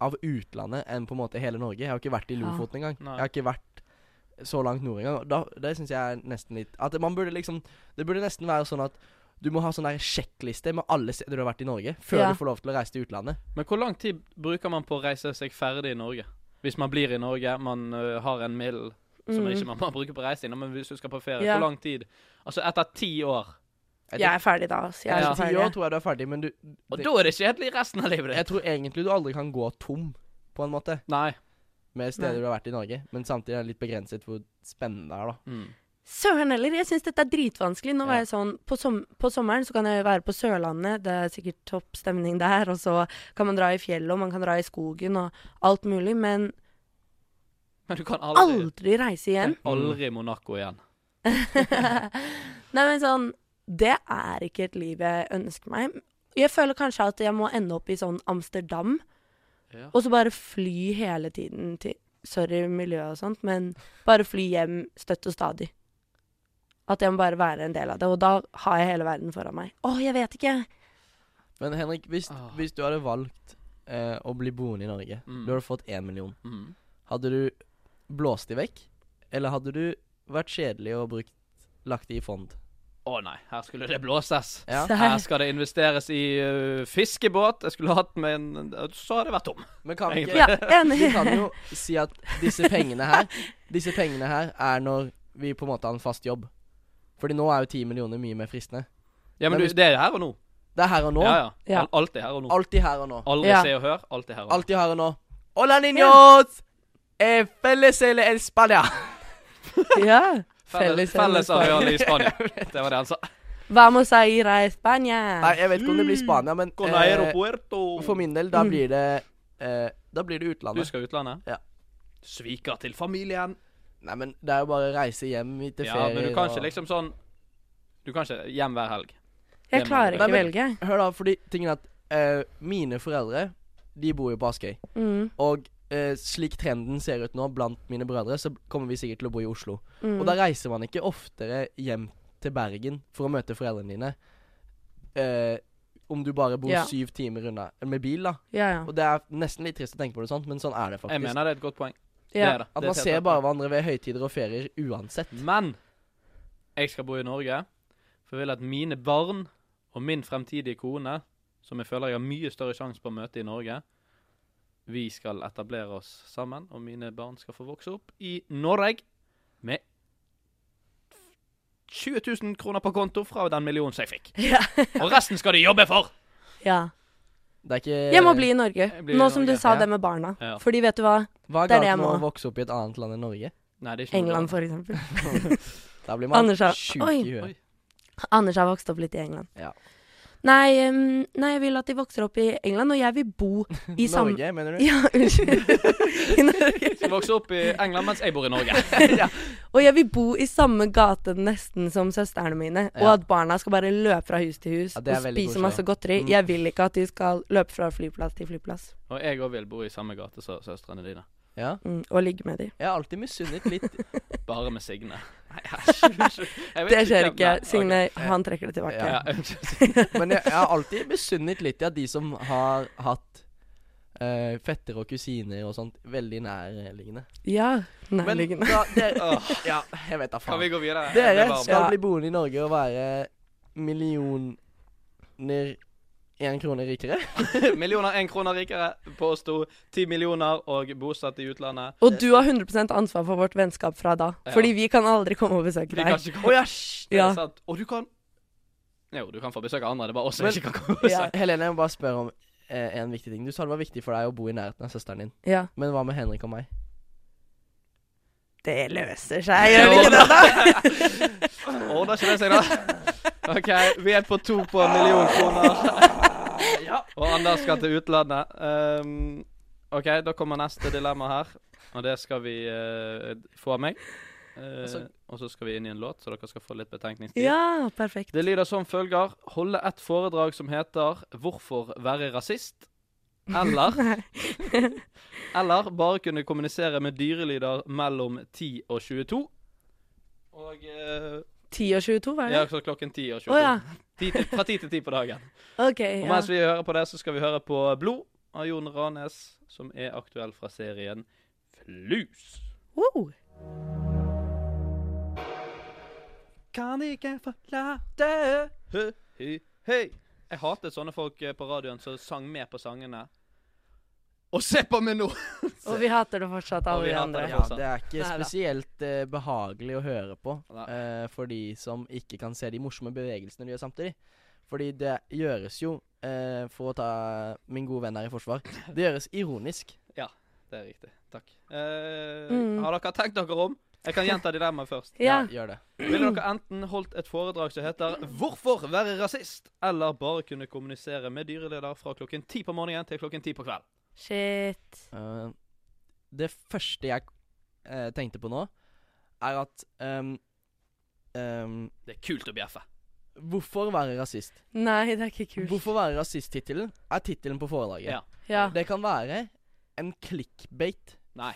S2: av utlandet enn på en måte hele Norge. Jeg har ikke vært i
S3: Ja.
S2: Lofoten engang.
S1: Nei.
S2: Jeg har ikke vært så langt nord engang. Da, det syns jeg er nesten litt At man burde liksom Det burde nesten være sånn at du må ha sånn der sjekkliste med alle steder du har vært i Norge, før
S3: Ja.
S2: du får lov til å reise til utlandet.
S1: Men hvor lang tid bruker man på å reise seg ferdig i Norge? Hvis man blir i Norge, man ø, har en mill som
S3: Mm.
S1: ikke man bare bruker på reising, men hvis du skal på ferie,
S3: Ja.
S1: hvor lang tid? Altså etter ti år.
S2: Etter,
S3: Jeg er ferdig da, altså. Jeg er
S1: Ja.
S3: så
S2: etter ti år
S3: ferdig.
S2: tror jeg du er ferdig, men du
S1: Og
S2: det,
S1: da er det kjedelig resten av livet ditt.
S2: Jeg tror egentlig du aldri kan gå tom, på en måte,
S1: Nei.
S2: med steder
S3: Nei.
S2: du har vært i Norge. Men samtidig er det litt begrenset hvor spennende det er, da.
S1: Mm.
S3: Søren heller, jeg syns dette er dritvanskelig. Nå var jeg sånn, på, som, på sommeren så kan jeg være på Sørlandet, det er sikkert topp stemning der. Og så kan man dra i fjellet, og man kan dra i skogen og alt mulig. Men
S1: Men du kan aldri,
S3: aldri reise igjen.
S1: aldri Monaco igjen.
S3: Nei, men sånn Det er ikke et liv jeg ønsker meg. Jeg føler kanskje at jeg må ende opp i sånn Amsterdam,
S1: Ja.
S3: og så bare fly hele tiden til Sorry miljøet og sånt, men bare fly hjem støtt og stadig. At jeg må bare være en del av det, og da har jeg hele verden foran meg. Å, jeg vet ikke!
S2: Men Henrik, hvis,
S1: Ah.
S2: hvis du hadde valgt eh, å bli boende i Norge,
S1: Mm.
S2: du hadde fått én million,
S1: Mm.
S2: hadde du blåst de vekk? Eller hadde du vært kjedelig og brukt, lagt de i fond?
S1: Å nei, her skulle det blåses.
S2: Ja.
S1: Her skal det investeres i øh, fiskebåt. Jeg skulle hatt med en Så har det vært tom.
S2: Men kan vi ikke
S3: Ja,
S2: Vi
S3: enig.
S2: kan jo si at disse pengene her Disse pengene her er når vi på en måte har en fast jobb. Fordi nå er jo ti millioner mye mer fristende.
S1: Ja,
S2: Men
S1: men du,
S2: hvis-
S1: det er her og nå.
S2: Det er her og nå.
S1: Ja, ja.
S3: Ja.
S1: Al- Alt er her og nå.
S2: Alltid her og nå.
S1: Aldri
S3: Ja.
S1: se og hør. Alt er her og nå.
S2: Alltid her og nå. Hola niños! Eh, felles eller el Spania?
S3: Ja.
S1: Felles,
S3: Felles-
S1: fellesareal i Spania. Det var det han sa.
S3: Vamos a ir a España.
S2: Nei, jeg vet ikke om det blir Spania, men
S1: Con
S2: eh,
S1: aeropuerto.
S2: for min del, da blir det eh, Da blir det
S1: Mm. Du
S2: utlandet.
S1: skal utlandet?
S2: Ja.
S1: Sviker til familien.
S2: Nei, men det er jo bare å reise hjem til
S1: Ja,
S2: ferie.
S1: men du kan ikke liksom sånn Du kan ikke hjem hver helg.
S3: Jeg klarer
S2: Nei,
S3: ikke
S2: men-
S3: velge.
S2: Hør da, fordi tingen er at eh, mine foreldre, de bor jo på Askøy.
S3: Mm,
S2: Og eh, slik trenden ser ut nå blant mine brødre, så kommer vi sikkert til å bo i Oslo.
S3: mm.
S2: Og da reiser man ikke oftere hjem til Bergen for å møte foreldrene dine. Eh, om du bare bor
S3: Ja.
S2: syv timer unna med bil, da.
S3: Ja, ja.
S2: Og det er nesten litt trist å tenke på det sånn, men sånn er det faktisk.
S1: Jeg mener det er et godt poeng. Det
S3: ja.
S1: er det.
S2: At
S1: Det
S2: man
S1: er
S2: ser
S1: helt
S2: bare hverandre ved høytider og ferier uansett.
S1: rett. Men jeg skal bo i Norge, for jeg vil at mine barn og min fremtidige kone, som jeg føler jeg har mye større sjanse på å møte i Norge Vi skal etablere oss sammen, og mine barn skal få vokse opp i Norge med 20 000 kroner på konto fra den millionen som jeg fikk.
S3: Ja.
S1: Og resten skal de jobbe for!
S3: ja.
S2: Det er ikke
S3: Jeg må bli i Norge.
S1: Jeg blir i
S3: Nå som du
S1: Norge,
S3: sa
S2: ja.
S3: det med barna.
S1: Ja.
S3: Fordi vet du hva?
S2: Hva
S3: det er
S2: er
S3: det jeg
S2: galt med å
S3: må.
S2: vokse opp i et annet land enn Norge?
S1: Nei, det er ikke noe
S3: England,
S1: bra.
S3: for eksempel.
S2: Da blir man
S3: Anders har-
S2: sjuk
S3: Oi.
S2: i huet.
S1: Oi.
S3: Anders har vokst opp litt i England.
S2: Ja.
S3: Nei, um, nei, jeg vil at de vokser opp i England, og jeg vil bo i samme
S2: Norge, mener du?
S3: Ja, unnskyld. I Norge.
S1: Skal vokse opp i England mens jeg bor i Norge.
S3: Og jeg vil bo i samme gate nesten som søstrene mine. Og
S2: Ja.
S3: at barna skal bare løpe fra hus til hus
S2: Ja, det er
S3: og
S2: veldig
S3: spise
S2: koselig.
S3: masse godteri.
S2: Mm.
S3: Jeg vil ikke at de skal løpe fra flyplass til flyplass
S1: Og jeg òg vil bo i samme gate som søstrene dine.
S2: Ja.
S3: mm, og ligge med de.
S2: Jeg har alltid misunnet litt
S1: Bare med Signe. Nei, æsj, unnskyld. Jeg vet
S3: Det skjer
S1: hvem-
S3: ikke.
S1: Nei, ok.
S3: Signe, han trekker det tilbake.
S1: Ja,
S2: Ja.
S1: unnskyld.
S2: Men jeg, jeg har alltid misunnet litt i at de som har hatt uh, fettere og kusiner og sånt, veldig nærliggende.
S3: Ja.
S2: Men
S3: Nærliggende.
S2: da, dere,
S1: Åh,
S2: ja, jeg vet da
S1: kan vi
S2: faen.
S1: gå videre? Jeg ble
S2: Dere
S1: varm.
S2: skal
S3: Ja.
S2: bli boende i Norge og være millioner én krone rikere.
S1: Millioner, én kroner rikere. Påsto ti millioner og bosatt i utlandet.
S3: Og du har 100 ansvar for vårt vennskap fra da.
S1: Ja.
S3: Fordi vi kan aldri komme og besøke
S1: Vi kan
S3: deg.
S1: ikke
S2: Å
S1: komme
S2: ja, sj-
S1: Det er
S3: Ja.
S1: sant. Og du kan Jo, du kan få besøk av andre. Det er bare oss som
S2: Men-
S1: ikke kan komme. og
S3: Ja.
S1: besøke.
S2: Helene, jeg må bare spørre om eh, en viktig ting. Du sa det var viktig for deg å bo i nærheten av søsteren din.
S3: Ja.
S2: Men hva med Henrik og meg?
S3: Det løser seg, gjør det ikke det?
S1: Ordner ikke det seg, da? OK, vi er på to på en million kroner. Og Anders skal til utlandet. Um, OK, da kommer neste dilemma her, og det skal vi eh, få av meg. Eh,
S2: Altså-
S1: og så skal vi inn i en låt, så dere skal få litt betenkningstid.
S3: Ja, perfekt.
S1: Det lyder som følger Holde et foredrag som heter 'Hvorfor være rasist?' Eller
S3: Nei.
S1: eller bare kunne kommunisere med dyrelyder mellom 10 og 22. Og eh,
S3: 10 og 22, var det?
S1: Ja, så klokken 10 og 22.
S3: Å ja.
S1: 10 til, fra 10 til 10 på dagen.
S3: OK.
S1: Og
S3: Ja.
S1: mens vi hører på det, så skal vi høre på Blod av Jon Ranes, som er aktuell fra serien Flus.
S3: Wow.
S1: Kan ikke forlate hø, hø, høy. Jeg hatet sånne folk eh, på radioen som sang med på sangene. Og se på meg nå!
S3: Og vi hater det fortsatt,
S1: Og
S3: alle
S1: vi
S3: de
S1: hater
S3: andre.
S1: det.
S2: Ja, det er ikke
S3: Neida.
S2: spesielt eh, behagelig å høre på
S1: Nei.
S2: eh, for de som ikke kan se de morsomme bevegelsene de gjør samtidig. Fordi det gjøres jo, eh, for å ta min gode venn her i forsvar, det gjøres ironisk.
S1: Det er riktig. Takk. Eh,
S3: Mm.
S1: Har dere tenkt dere om? Jeg kan gjenta dilemmaet først.
S3: Ja.
S2: gjør det.
S1: Ville dere enten holdt et foredrag som heter 'Hvorfor være rasist?' eller bare kunne kommunisere med dyreleder fra klokken ti på morgenen til klokken ti på kvelden?
S3: Shit.
S2: Eh, det første jeg eh, tenkte på nå, er at ehm, ehm,
S1: Det er kult å bjeffe.
S2: Hvorfor være rasist?
S3: Nei, det er ikke kult.
S2: Hvorfor være rasist-tittelen er tittelen på foredraget.
S1: Ja.
S3: Ja.
S2: Det kan være en clickbait.
S1: Nei.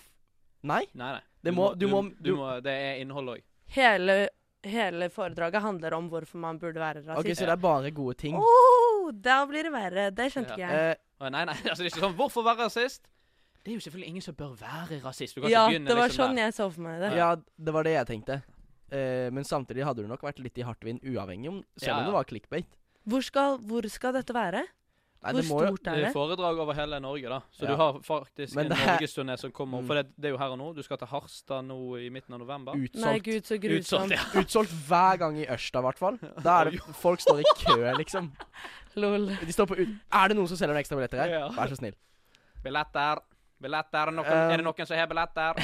S2: Nei?
S1: Nei, nei.
S2: Det må- du må-
S1: du
S2: du-
S1: må Det er innhold òg.
S3: Hele, hele foredraget handler om hvorfor man burde være
S2: Ok,
S3: rasist.
S2: Så det er bare gode ting.
S3: Åh, da blir det verre. Det skjønte ikke jeg.
S2: Eh,
S1: Å, Nei, nei, altså det er ikke sånn 'Hvorfor være rasist?' Det er jo selvfølgelig ingen som bør være rasist. Du kan
S3: Ja,
S1: ikke begynne
S3: det var
S1: liksom
S3: sånn
S1: der.
S3: jeg så for meg det.
S2: ja, det var det jeg tenkte. Eh, men samtidig hadde du nok vært litt i hardt vind uavhengig, om, selv
S1: Ja, ja.
S2: om det var clickbait.
S3: Hvor skal, hvor skal dette være?
S2: Nei,
S3: Hvor
S2: det må jo
S3: stort
S1: Det
S3: er
S1: er
S3: det?
S1: foredrag over hele Norge, da. Så
S2: Ja.
S1: du har faktisk
S2: Men
S1: en
S2: det er-
S1: norgesturné som kommer.
S2: Mm.
S1: For det, det er jo her og nå. Du skal til Harstad nå i midten av november.
S3: Nei,
S2: utsolgt.
S3: gud, så
S1: Utsolgt,
S3: grusomt.
S1: ja.
S2: Utsolgt hver gang i Ørsta, i hvert fall. Da er det Folk står i kø, liksom.
S3: Lol.
S2: De står på ut... Er det noen som selger noen ekstra billetter her?
S1: Ja.
S2: Vær så snill.
S1: Billetter. Billetter. Noen,
S2: Eh.
S1: er det noen som har billetter?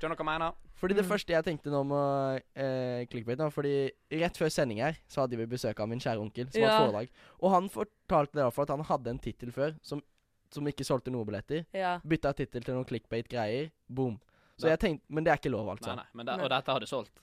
S1: Skjønner du hva jeg mener?
S2: Fordi det
S3: Mm.
S2: første jeg tenkte nå om å eh, clickbait da, Fordi rett før sending her Så hadde vi besøk av min kjære onkel Som
S3: Ja.
S2: hadde foredrag Og han fortalte det for at han hadde en titel før Som, som ikke solgte noen billetter
S3: Ja.
S2: Bytta titel til noen clickbait-greier Boom Så
S1: Nei.
S2: jeg tenkte Men det er ikke lov altså
S1: Nei, nei, men det,
S3: Nei.
S1: Og dette har det solgt.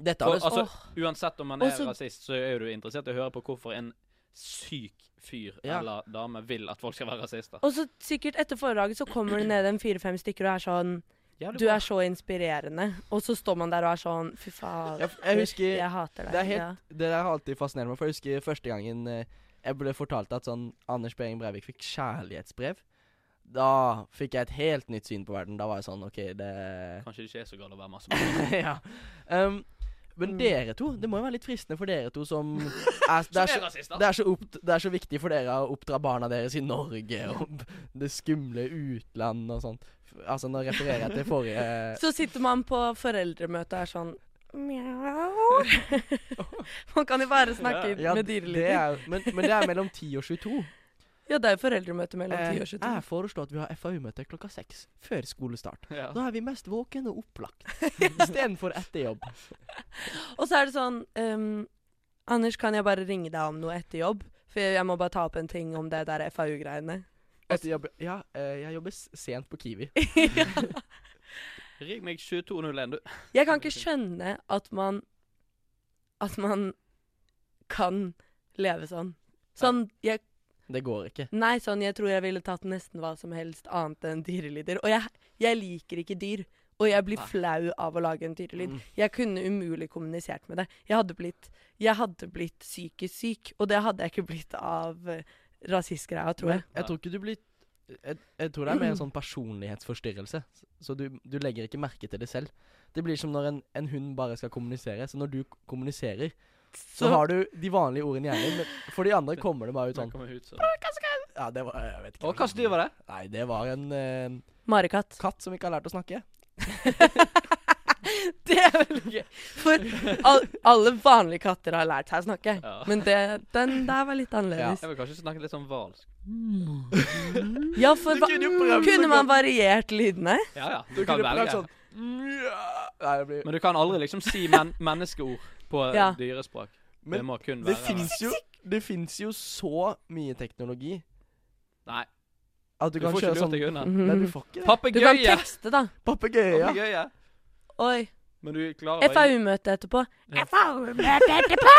S2: Dette
S1: Og,
S2: hadde
S1: altså,
S3: Åh.
S1: uansett om man
S3: Og
S1: er
S3: så-
S1: rasist, så er jo du interessert i å høre på hvorfor en syk fyr
S2: Ja.
S1: eller dame vil at folk skal være rasister.
S3: Og så sikkert etter foredraget så kommer det ned en fire-fem stykker og er sånn
S1: Jævlig
S3: Du
S1: bra.
S3: er så inspirerende. Og så står man der og er sånn Fy faen.
S2: Jeg, jeg husker
S3: Jeg hater deg.
S2: Det er helt
S3: Ja.
S2: Det der har alltid fascinert meg, for jeg husker første gangen eh, jeg ble fortalt at sånn Anders Behring Breivik fikk kjærlighetsbrev. Da fikk jeg et helt nytt syn på verden. Da var jeg sånn OK, det
S1: Kanskje det ikke er så galt å være masse
S2: Ja. Um, men
S3: Mm.
S2: dere to, det må jo være litt fristende for dere to som er, det,
S1: Som
S2: er
S1: er
S2: så,
S1: rasister.
S2: det, er så opp, det er så viktig for dere å oppdra barna deres i Norge og det skumle utland og sånt. Altså, nå refererer jeg til forrige
S3: Så sitter man på foreldremøte og er sånn Mjau. man kan jo bare snakke
S2: Ja,
S3: med
S2: det
S3: dyrelyder.
S2: er, men, men det er mellom 10 og 22.
S3: Ja, det er jo foreldremøte mellom 10 og
S2: Eh,
S3: 22.
S2: jeg foreslår at vi har FAU-møte klokka seks før skolestart.
S1: Ja.
S2: Da er vi mest våkne og opplagt istedenfor etter jobb.
S3: Og så er det sånn ehm, Anders, kan jeg bare ringe deg om noe etter jobb? For jeg må bare ta opp en ting om det der FAU-greiene.
S2: Etter jobb ja, eh, jeg jobber s- sent på Kiwi.
S1: Ring meg 2201, du.
S3: Jeg kan ikke skjønne at man At man kan leve sånn. Sånn jeg,
S2: Det går ikke.
S3: Nei, sånn jeg tror jeg ville tatt nesten hva som helst annet enn dyrelyder. Og jeg, jeg liker ikke dyr. Og jeg blir
S1: Nei.
S3: flau av å lage en dyrelyd.
S2: Mm.
S3: Jeg kunne umulig kommunisert med det. Jeg hadde blitt, jeg hadde blitt psykisk syk, og det hadde jeg ikke blitt av eh, rasistgreia, tror jeg.
S2: Jeg tror ikke du blir jeg, jeg tror det er mer en sånn personlighetsforstyrrelse. S- Så du, du legger ikke merke til det selv. Det blir som når en, en hund bare skal kommunisere. Så når du k- kommuniserer, så har du de vanlige ordene i hjernen. Men for de andre kommer det bare ut sånn
S1: Kommer ut, så.
S2: Ja, det var Jeg vet ikke.
S1: Og hva slags dyr var det?
S2: Nei, det var en eh,
S3: Marekatt.
S2: katt som ikke har lært å snakke.
S3: Det er veldig gøy. For al alle vanlige katter har lært seg å snakke.
S1: Ja.
S3: Men det, den der var litt annerledes.
S1: Jeg vil kanskje snakke litt sånn hvalsk.
S3: Ja, for
S2: Du
S3: hva
S2: kunne jo prøvd
S3: Kunne
S2: så
S3: man
S2: godt.
S3: variert lydene?
S1: Ja, ja. Du,
S2: Du
S1: kan
S2: kunne prøvd
S1: velge.
S2: sånn «Mjau». Nei, det blir
S1: Men du kan aldri liksom si men menneskeord på
S3: Ja.
S1: dyrespråk. det
S2: Men
S1: må kun
S2: det
S1: være
S2: fins jo Det fins jo så mye teknologi
S1: Nei,
S2: at du,
S1: du,
S2: kan
S1: får ikke
S2: kjøre
S1: lurt
S2: sånn
S1: deg unna.
S2: Nei, du
S3: Mhm.
S2: får ikke det.
S3: Du kan
S1: Papegøye!
S3: tekste, da.
S2: Papegøye, ja.
S1: Papegøye.
S3: Oi.
S1: Men du klarer ikke
S3: FAU-møte etterpå.
S1: Ja.
S3: FAU-møte etterpå!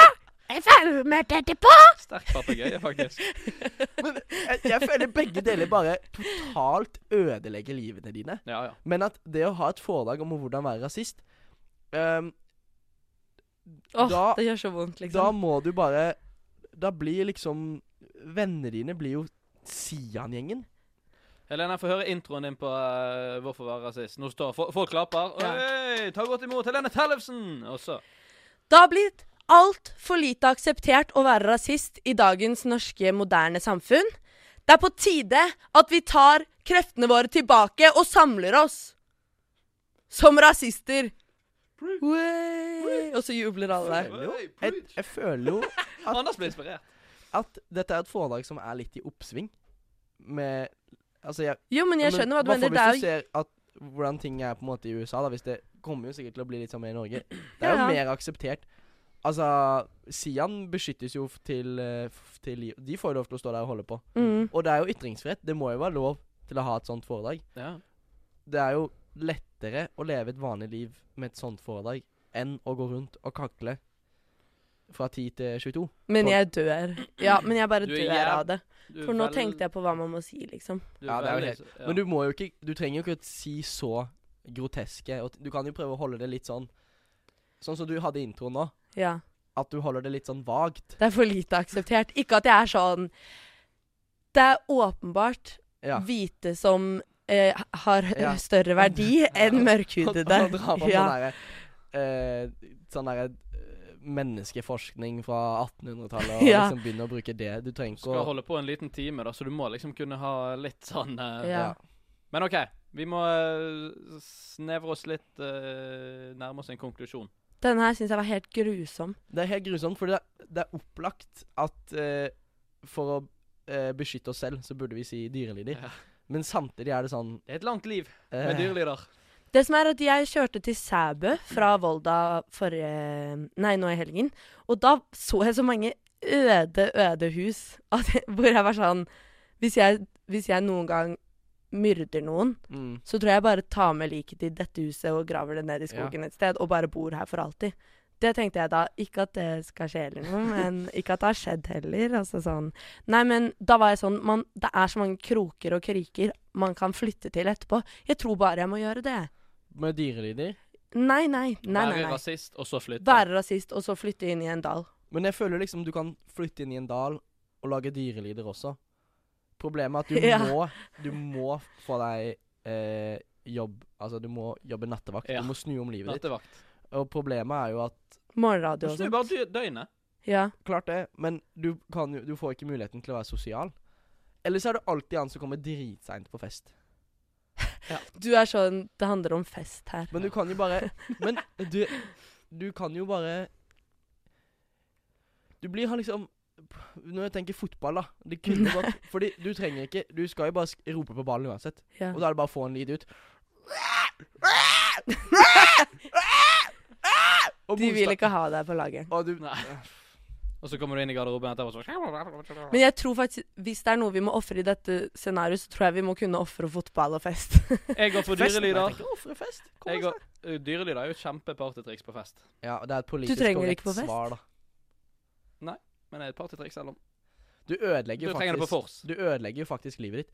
S3: FAU-møte etterpå!
S1: sterk papegøye, faktisk.
S2: Men jeg, jeg føler begge deler bare totalt ødelegger livene dine.
S1: Ja, ja.
S2: Men at det å ha et foredrag om hvordan være rasist ehm,
S3: Åh,
S2: Da-
S3: det gjør så vondt,
S2: Da
S3: liksom.
S2: må du bare Da blir liksom Vennene dine blir jo Sian-gjengen.
S1: Helena, få høre introen din på eh, 'Hvorfor være rasist'. Nå står fo- folk klapper.
S3: Ja.
S1: Oi, ta godt imot Helene Tellefsen! Og så
S3: Det har blitt altfor lite akseptert å være rasist i dagens norske, moderne samfunn. Det er på tide at vi tar kreftene våre tilbake og samler oss. Som rasister. Wey! Og så jubler alle der.
S2: Jo,
S1: Oi,
S2: Jeg, jeg føler jo at-
S1: Anders ble inspirert.
S2: at dette er et foredrag som er litt i oppsving. Med Altså, jeg
S3: Jo, men jeg skjønner hva du
S2: hvert
S3: mener.
S2: fall
S3: Det er
S2: Hvis du ser at hvordan ting er på en måte i USA, da, hvis det kommer jo sikkert til å bli litt sånn mer i Norge. Det
S3: Ja,
S2: er jo
S3: ja.
S2: mer akseptert. Altså, Sian beskyttes jo f- til, eh, f- til liv. De får jo lov til å stå der og holde på.
S3: Mm.
S2: Og det er jo ytringsfrihet. Det må jo være lov til å ha et sånt foredrag.
S1: Ja.
S2: Det er jo lettere å leve et vanlig liv med et sånt foredrag enn å gå rundt og kakle fra 10 til 22.
S3: Men jeg dør. Ja, men jeg bare
S1: Du er
S3: dør
S1: jæv-
S3: av det. For nå tenkte jeg på hva man må si, liksom.
S2: Ja, det er jo Men du må jo ikke Du trenger jo ikke å si så groteske og t- Du kan jo prøve å holde det litt sånn Sånn som du hadde i introen nå.
S3: Ja.
S2: At du holder det litt sånn vagt.
S3: Det er for lite akseptert. Ikke at jeg er sånn Det er åpenbart
S2: Ja.
S3: hvite som eh, har hø-
S2: Ja.
S3: større verdi enn
S2: Og-
S3: mørkhudede.
S2: Og dra på
S3: Ja.
S2: sånn derre eh, Sånn derre eh, menneskeforskning fra 1800-tallet, og
S3: Ja.
S2: liksom begynne å bruke det. Du trenger ikke
S1: skal
S2: å
S1: holde på en liten time, da, så du må liksom kunne ha litt sånn eh,
S3: Ja.
S1: Men OK, vi må eh, snevre oss litt eh, nærme oss en konklusjon.
S3: Denne her syns jeg var helt grusom.
S2: Det er helt grusomt, for det er, det er opplagt at eh, for å eh, beskytte oss selv, så burde vi si dyrelyder.
S1: Ja.
S2: Men samtidig er det sånn
S1: Det er et langt liv
S2: eh,
S1: med dyrelyder.
S3: Det som er at jeg kjørte til Sæbø fra Volda forrige Nei, nå i helgen. Og da så jeg så mange øde, øde hus at, jeg- hvor jeg var sånn hvis jeg, hvis jeg noen gang myrder noen,
S2: mm,
S3: så tror jeg bare tar med liket til dette huset og graver det ned i skogen et sted, og bare bor her for alltid. Det tenkte jeg da. Ikke at det skal skje eller noe, men ikke at det har skjedd heller. Altså sånn. Nei, men da var jeg sånn man, Det er så mange kroker og kriker man kan flytte til etterpå. Jeg tror bare jeg må gjøre det.
S2: Med dyrelyder.
S3: Nei, nei. nei, nei,
S1: Være
S3: nei.
S1: rasist, og så flytte.
S3: Være rasist, og så flytte inn i en dal.
S2: Men jeg føler liksom du kan flytte inn i en dal og lage dyrelyder også. Problemet er at du
S3: Ja.
S2: må Du må få deg eh, jobb Altså, du må jobbe nattevakt.
S1: Ja.
S2: Du må snu om livet ditt.
S1: Nattevakt.
S2: Og problemet er jo at
S1: Du
S3: Morgenradio og
S1: snur
S3: sånn.
S1: bare dy- døgnet.
S3: Ja.
S2: Klart det, men du, kan, jo- du får ikke muligheten til å være sosial. Eller så er du alltid han som kommer dritseint på fest.
S3: Du er sånn Det handler om fest her.
S2: Men du kan jo bare Men du, du kan jo bare Du blir han liksom Når jeg tenker fotball, da Det kunne gått Fordi du trenger ikke Du skal jo bare sk- rope på ballen uansett.
S3: Ja.
S2: Og da er det bare å få en lyd ut. Og
S3: De vil
S2: motstand-
S3: ikke ha deg på laget.
S2: Og du
S1: Nei. Og så kommer du inn i garderoben etterpå og så
S3: Men jeg tror faktisk Hvis det er noe vi må ofre i dette scenarioet, så tror jeg vi må kunne ofre fotball og fest.
S1: Jeg går for
S2: Festen, jeg
S1: dyrelyder.
S2: tenker, «Å, for en fest. Kom
S1: Jeg
S2: og
S1: går, uh, dyrelyder er jo et kjempepartytriks på fest.
S2: Ja, det er et politisk
S3: trenger
S2: korrekt
S3: ikke på fest.
S2: svar, da.
S1: Men det er et partytriks selv om.
S2: Du ødelegger
S1: Du
S2: jo
S1: trenger det på
S2: faktisk
S1: fors.
S2: Du ødelegger jo faktisk livet ditt.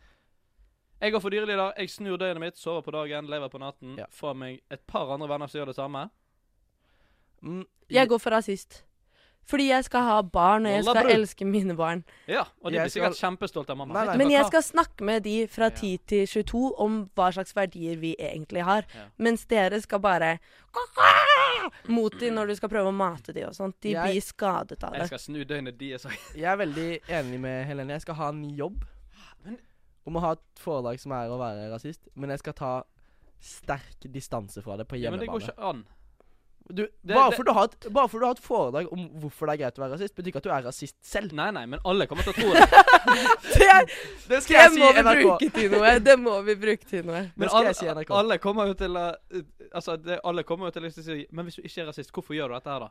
S1: Jeg går for dyrelyder. Jeg snur døgnet mitt, sover på dagen, lever på natten.
S2: Ja.
S1: Får meg et par andre venner som gjør det samme.
S2: Mm,
S3: Jeg går for rasist. Fordi jeg skal ha barn, og jeg
S1: Olla
S3: skal
S1: bror.
S3: elske mine barn.
S1: Ja, Og de
S2: Jeg
S1: blir sikkert kjempestolte av mamma.
S2: Nei,
S1: Vet
S2: nei.
S1: du
S3: Men
S1: hva?
S3: jeg skal snakke med de fra
S1: Ja.
S3: 10 til 22 om hva slags verdier vi egentlig har.
S1: Ja.
S3: Mens dere skal bare mot de når du skal prøve å mate de og sånt. De
S2: Jeg-
S3: blir skadet av
S1: Jeg
S3: det.
S1: skal snu døgnet altså. deres òg.
S2: Jeg er veldig enig med Helene. Jeg skal ha en ny jobb.
S1: Men-
S2: Om å ha et foredrag som er å være rasist. Men jeg skal ta sterk distanse fra det på
S1: Ja, men
S2: hjemmebane.
S1: det går ikke an.
S2: du, bare,
S1: det-
S2: for du har et, bare for du har et foredrag om hvorfor det er greit å være rasist, betyr ikke at du er rasist selv.
S1: Nei, nei, men alle kommer til å tro det.
S3: Det,
S2: Det
S3: det må vi bruke til noe. Det må vi bruke til noe.
S1: Men
S2: Det skal
S1: alle,
S2: jeg si i NRK.
S1: alle kommer jo til å uh, Altså, det, alle kommer jo til å si Men hvis du ikke er rasist, hvorfor gjør du dette her, da?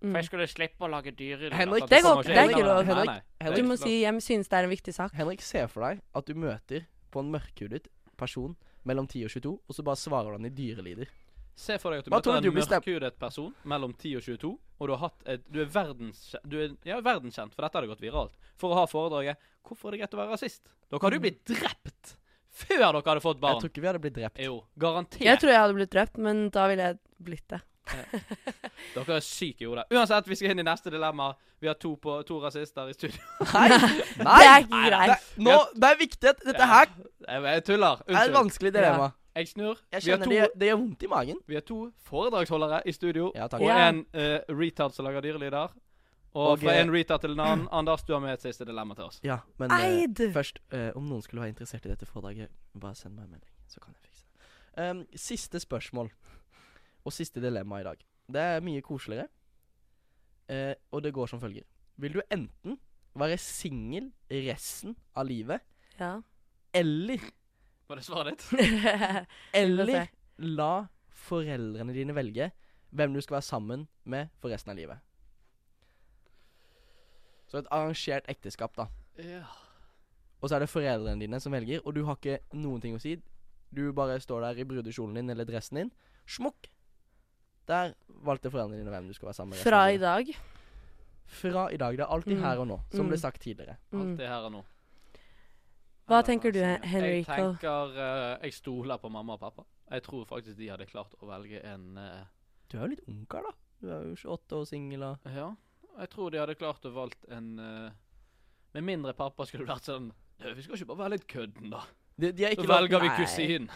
S3: Mm.
S1: jeg skulle slippe å lage dyrelyder.
S2: Henrik,
S1: for
S3: det
S1: kommer
S3: går-
S1: ikke
S3: det er
S1: inn
S3: ikke
S1: av
S3: lov.
S1: det. Nei,
S2: Henrik,
S1: nei, det er
S2: Henrik,
S3: Du
S1: ikke
S3: må
S1: lov.
S3: si 'jeg synes det er en viktig sak'.
S2: Henrik, se for deg at du møter på en mørkhudet person mellom 10 og 22, og så bare svarer du han i dyrelyder.
S1: Se for deg at du
S2: Hva tror
S1: møter
S2: du
S1: en
S2: blir stemt-
S1: mørkhudet person mellom 10 og 22, og du, har hatt et, du er verdenskjent, du er, ja, verdenskjent, for dette hadde gått viralt, for å ha foredraget 'Hvorfor er det greit å være rasist?' Dere hadde jo blitt drept før dere hadde fått
S2: Mm. Jeg
S1: barn.
S2: tror ikke vi hadde blitt drept.
S1: Jo, garantert.
S3: Jeg tror jeg hadde blitt drept, men da ville jeg blitt det.
S1: Dere er syke i hodet. Uansett, vi skal inn i neste dilemma. Vi har to, på, to rasister i studio.
S2: Nei!
S3: Det er ikke
S1: Nei, nei,
S3: greit.
S2: Det, nå, det er viktig at dette her
S1: Jeg, jeg tuller.
S2: er et
S1: Unnskyld.
S2: vanskelig dilemma.
S1: Jeg snur.
S2: Jeg
S1: Vi har,
S2: kjenner det,
S1: to,
S2: gjør- det gjør vondt i magen.
S1: vi har to foredragsholdere i studio,
S2: Ja, takk.
S1: og
S3: Ja.
S1: en eh, retard som lager dyrelyder. Og,
S2: Og,
S1: fra
S2: eh,
S1: en retard til en annen. Anders, du har med et siste dilemma til oss.
S2: Ja, men eh,
S3: Eid!
S2: først, eh, om noen skulle være interessert i dette foredraget, bare send meg en melding, så kan jeg fikse det. Em, siste spørsmål, og siste dilemma i dag. Det er mye koseligere, eh, og det går som følger. Vil du enten være singel resten av livet,
S3: Ja.
S2: eller,
S1: Var det svaret ditt?
S3: Vi får se.
S2: eller la foreldrene dine velge hvem du skal være sammen med for resten av livet. Så et arrangert ekteskap, da.
S1: Ja.
S2: Og så er det foreldrene dine som velger, og du har ikke noen ting å si. Du bare står der i brudekjolen din eller dressen din. Smukk! Der valgte foreldrene dine hvem du skal være sammen med. resten
S3: Fra
S2: av
S3: i
S2: livet.
S3: dag.
S2: Fra i dag. Det er alltid
S3: Mm.
S2: her og nå, som
S3: Mm.
S2: ble sagt tidligere.
S3: Mm.
S1: Alt det her og nå.
S3: Hva
S1: Eller,
S3: tenker du,
S1: altså, Jeg
S3: Henrico?
S1: tenker eh, Jeg stoler på mamma og pappa. Jeg tror faktisk de hadde klart å velge en eh,
S2: Du er jo litt ungkar, da. Du er jo 28 og singel og
S1: Ja. Jeg tror de hadde klart å valgt en eh, Med mindre pappa skulle vært sånn «Du, Vi skal ikke bare være litt kødden, da.
S2: de, de har
S1: Så
S2: ikke lov-
S1: velger vi
S2: Nei.
S1: kusinen.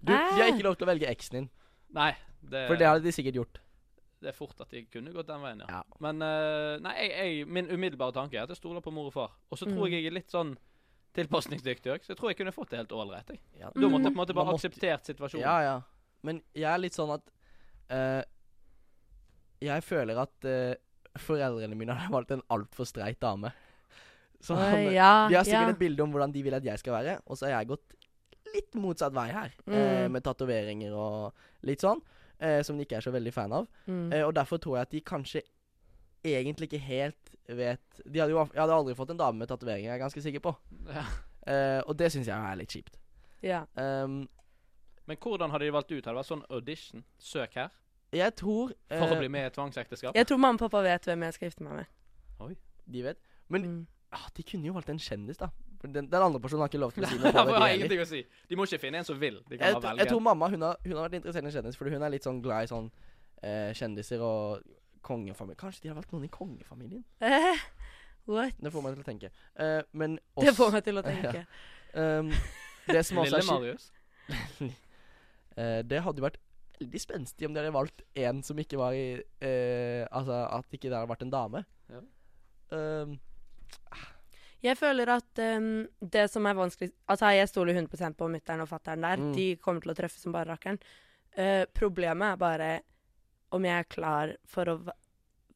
S2: Du, de har ikke lov til å velge eksen din,
S1: Nei, det,
S2: for det hadde de sikkert gjort.
S1: det er fort at de kunne gått den veien, ja.
S2: Ja.
S1: Men eh, nei, jeg, jeg, min umiddelbare tanke er at jeg stoler på mor og far. Og så tror
S3: Mm.
S1: jeg jeg er litt sånn tilpasningsdyktig òg, så jeg tror jeg kunne fått det helt ålreit. jeg.
S2: Ja,
S1: Da måtte
S3: Mm.
S1: jeg på en måte
S2: Man
S1: bare
S2: måtte-
S1: akseptert situasjonen.
S2: Ja, ja. Men jeg er litt sånn at eh, Jeg føler at eh, foreldrene mine har valgt en altfor streit dame. Så eh,
S3: Oi,
S2: De
S3: ja,
S2: har sikkert
S3: ja.
S2: et bilde om hvordan de vil at jeg skal være, og så har jeg gått litt motsatt vei her. eh,
S3: Mm.
S2: med tatoveringer og litt sånn, eh, som de ikke er så veldig fan av.
S3: Mm.
S2: Eh, og derfor tror jeg at de kanskje egentlig ikke helt vet de hadde jo, Jeg hadde aldri fått en dame med tatoveringer, jeg er ganske sikker på.
S1: Ja.
S2: Eh, og det syns jeg er litt kjipt.
S3: Ja.
S2: Ehm,
S1: Men hvordan hadde de valgt ut? Hadde det vært sånn audition? Søk her
S2: jeg tror
S1: for å
S2: eh,
S1: bli med i et tvangsekteskap?
S3: Jeg tror mamma og pappa vet hvem jeg skal gifte meg med.
S2: De vet. Men
S3: Mm.
S2: ah, de kunne jo valgt en kjendis, da. For den, den andre personen har ikke lov til å si noe.
S1: For
S2: på
S1: jeg
S2: det, de
S1: har
S2: heller.
S1: ingenting å si. De må ikke finne en som vil. De kan
S2: jeg,
S1: bare
S2: tr-
S1: velge.
S2: jeg tror mamma hun har, hun har vært interessert i kjendis, fordi hun er litt sånn glad i sånn eh, kjendiser og kongefamilie. Kanskje de har valgt noen i kongefamilien?
S3: Eh, what?
S2: Det får meg til å tenke. Eh, men
S3: Det
S2: oss-
S3: får meg til å tenke.
S2: ehm, det som også
S1: Lille
S2: er skitt-
S1: Marius.
S2: Eh, det hadde jo vært veldig spenstig om de hadde valgt en som ikke var i eh, Altså at ikke det hadde vært en dame.
S1: Ja.
S2: Ehm,
S3: Jeg føler at ehm, det som er vanskelig Altså, jeg stoler 100 på mutter'n og fatter'n der.
S2: Mm.
S3: De kommer til å treffe som bare rakkeren. Eh, problemet er bare om jeg er klar for å v-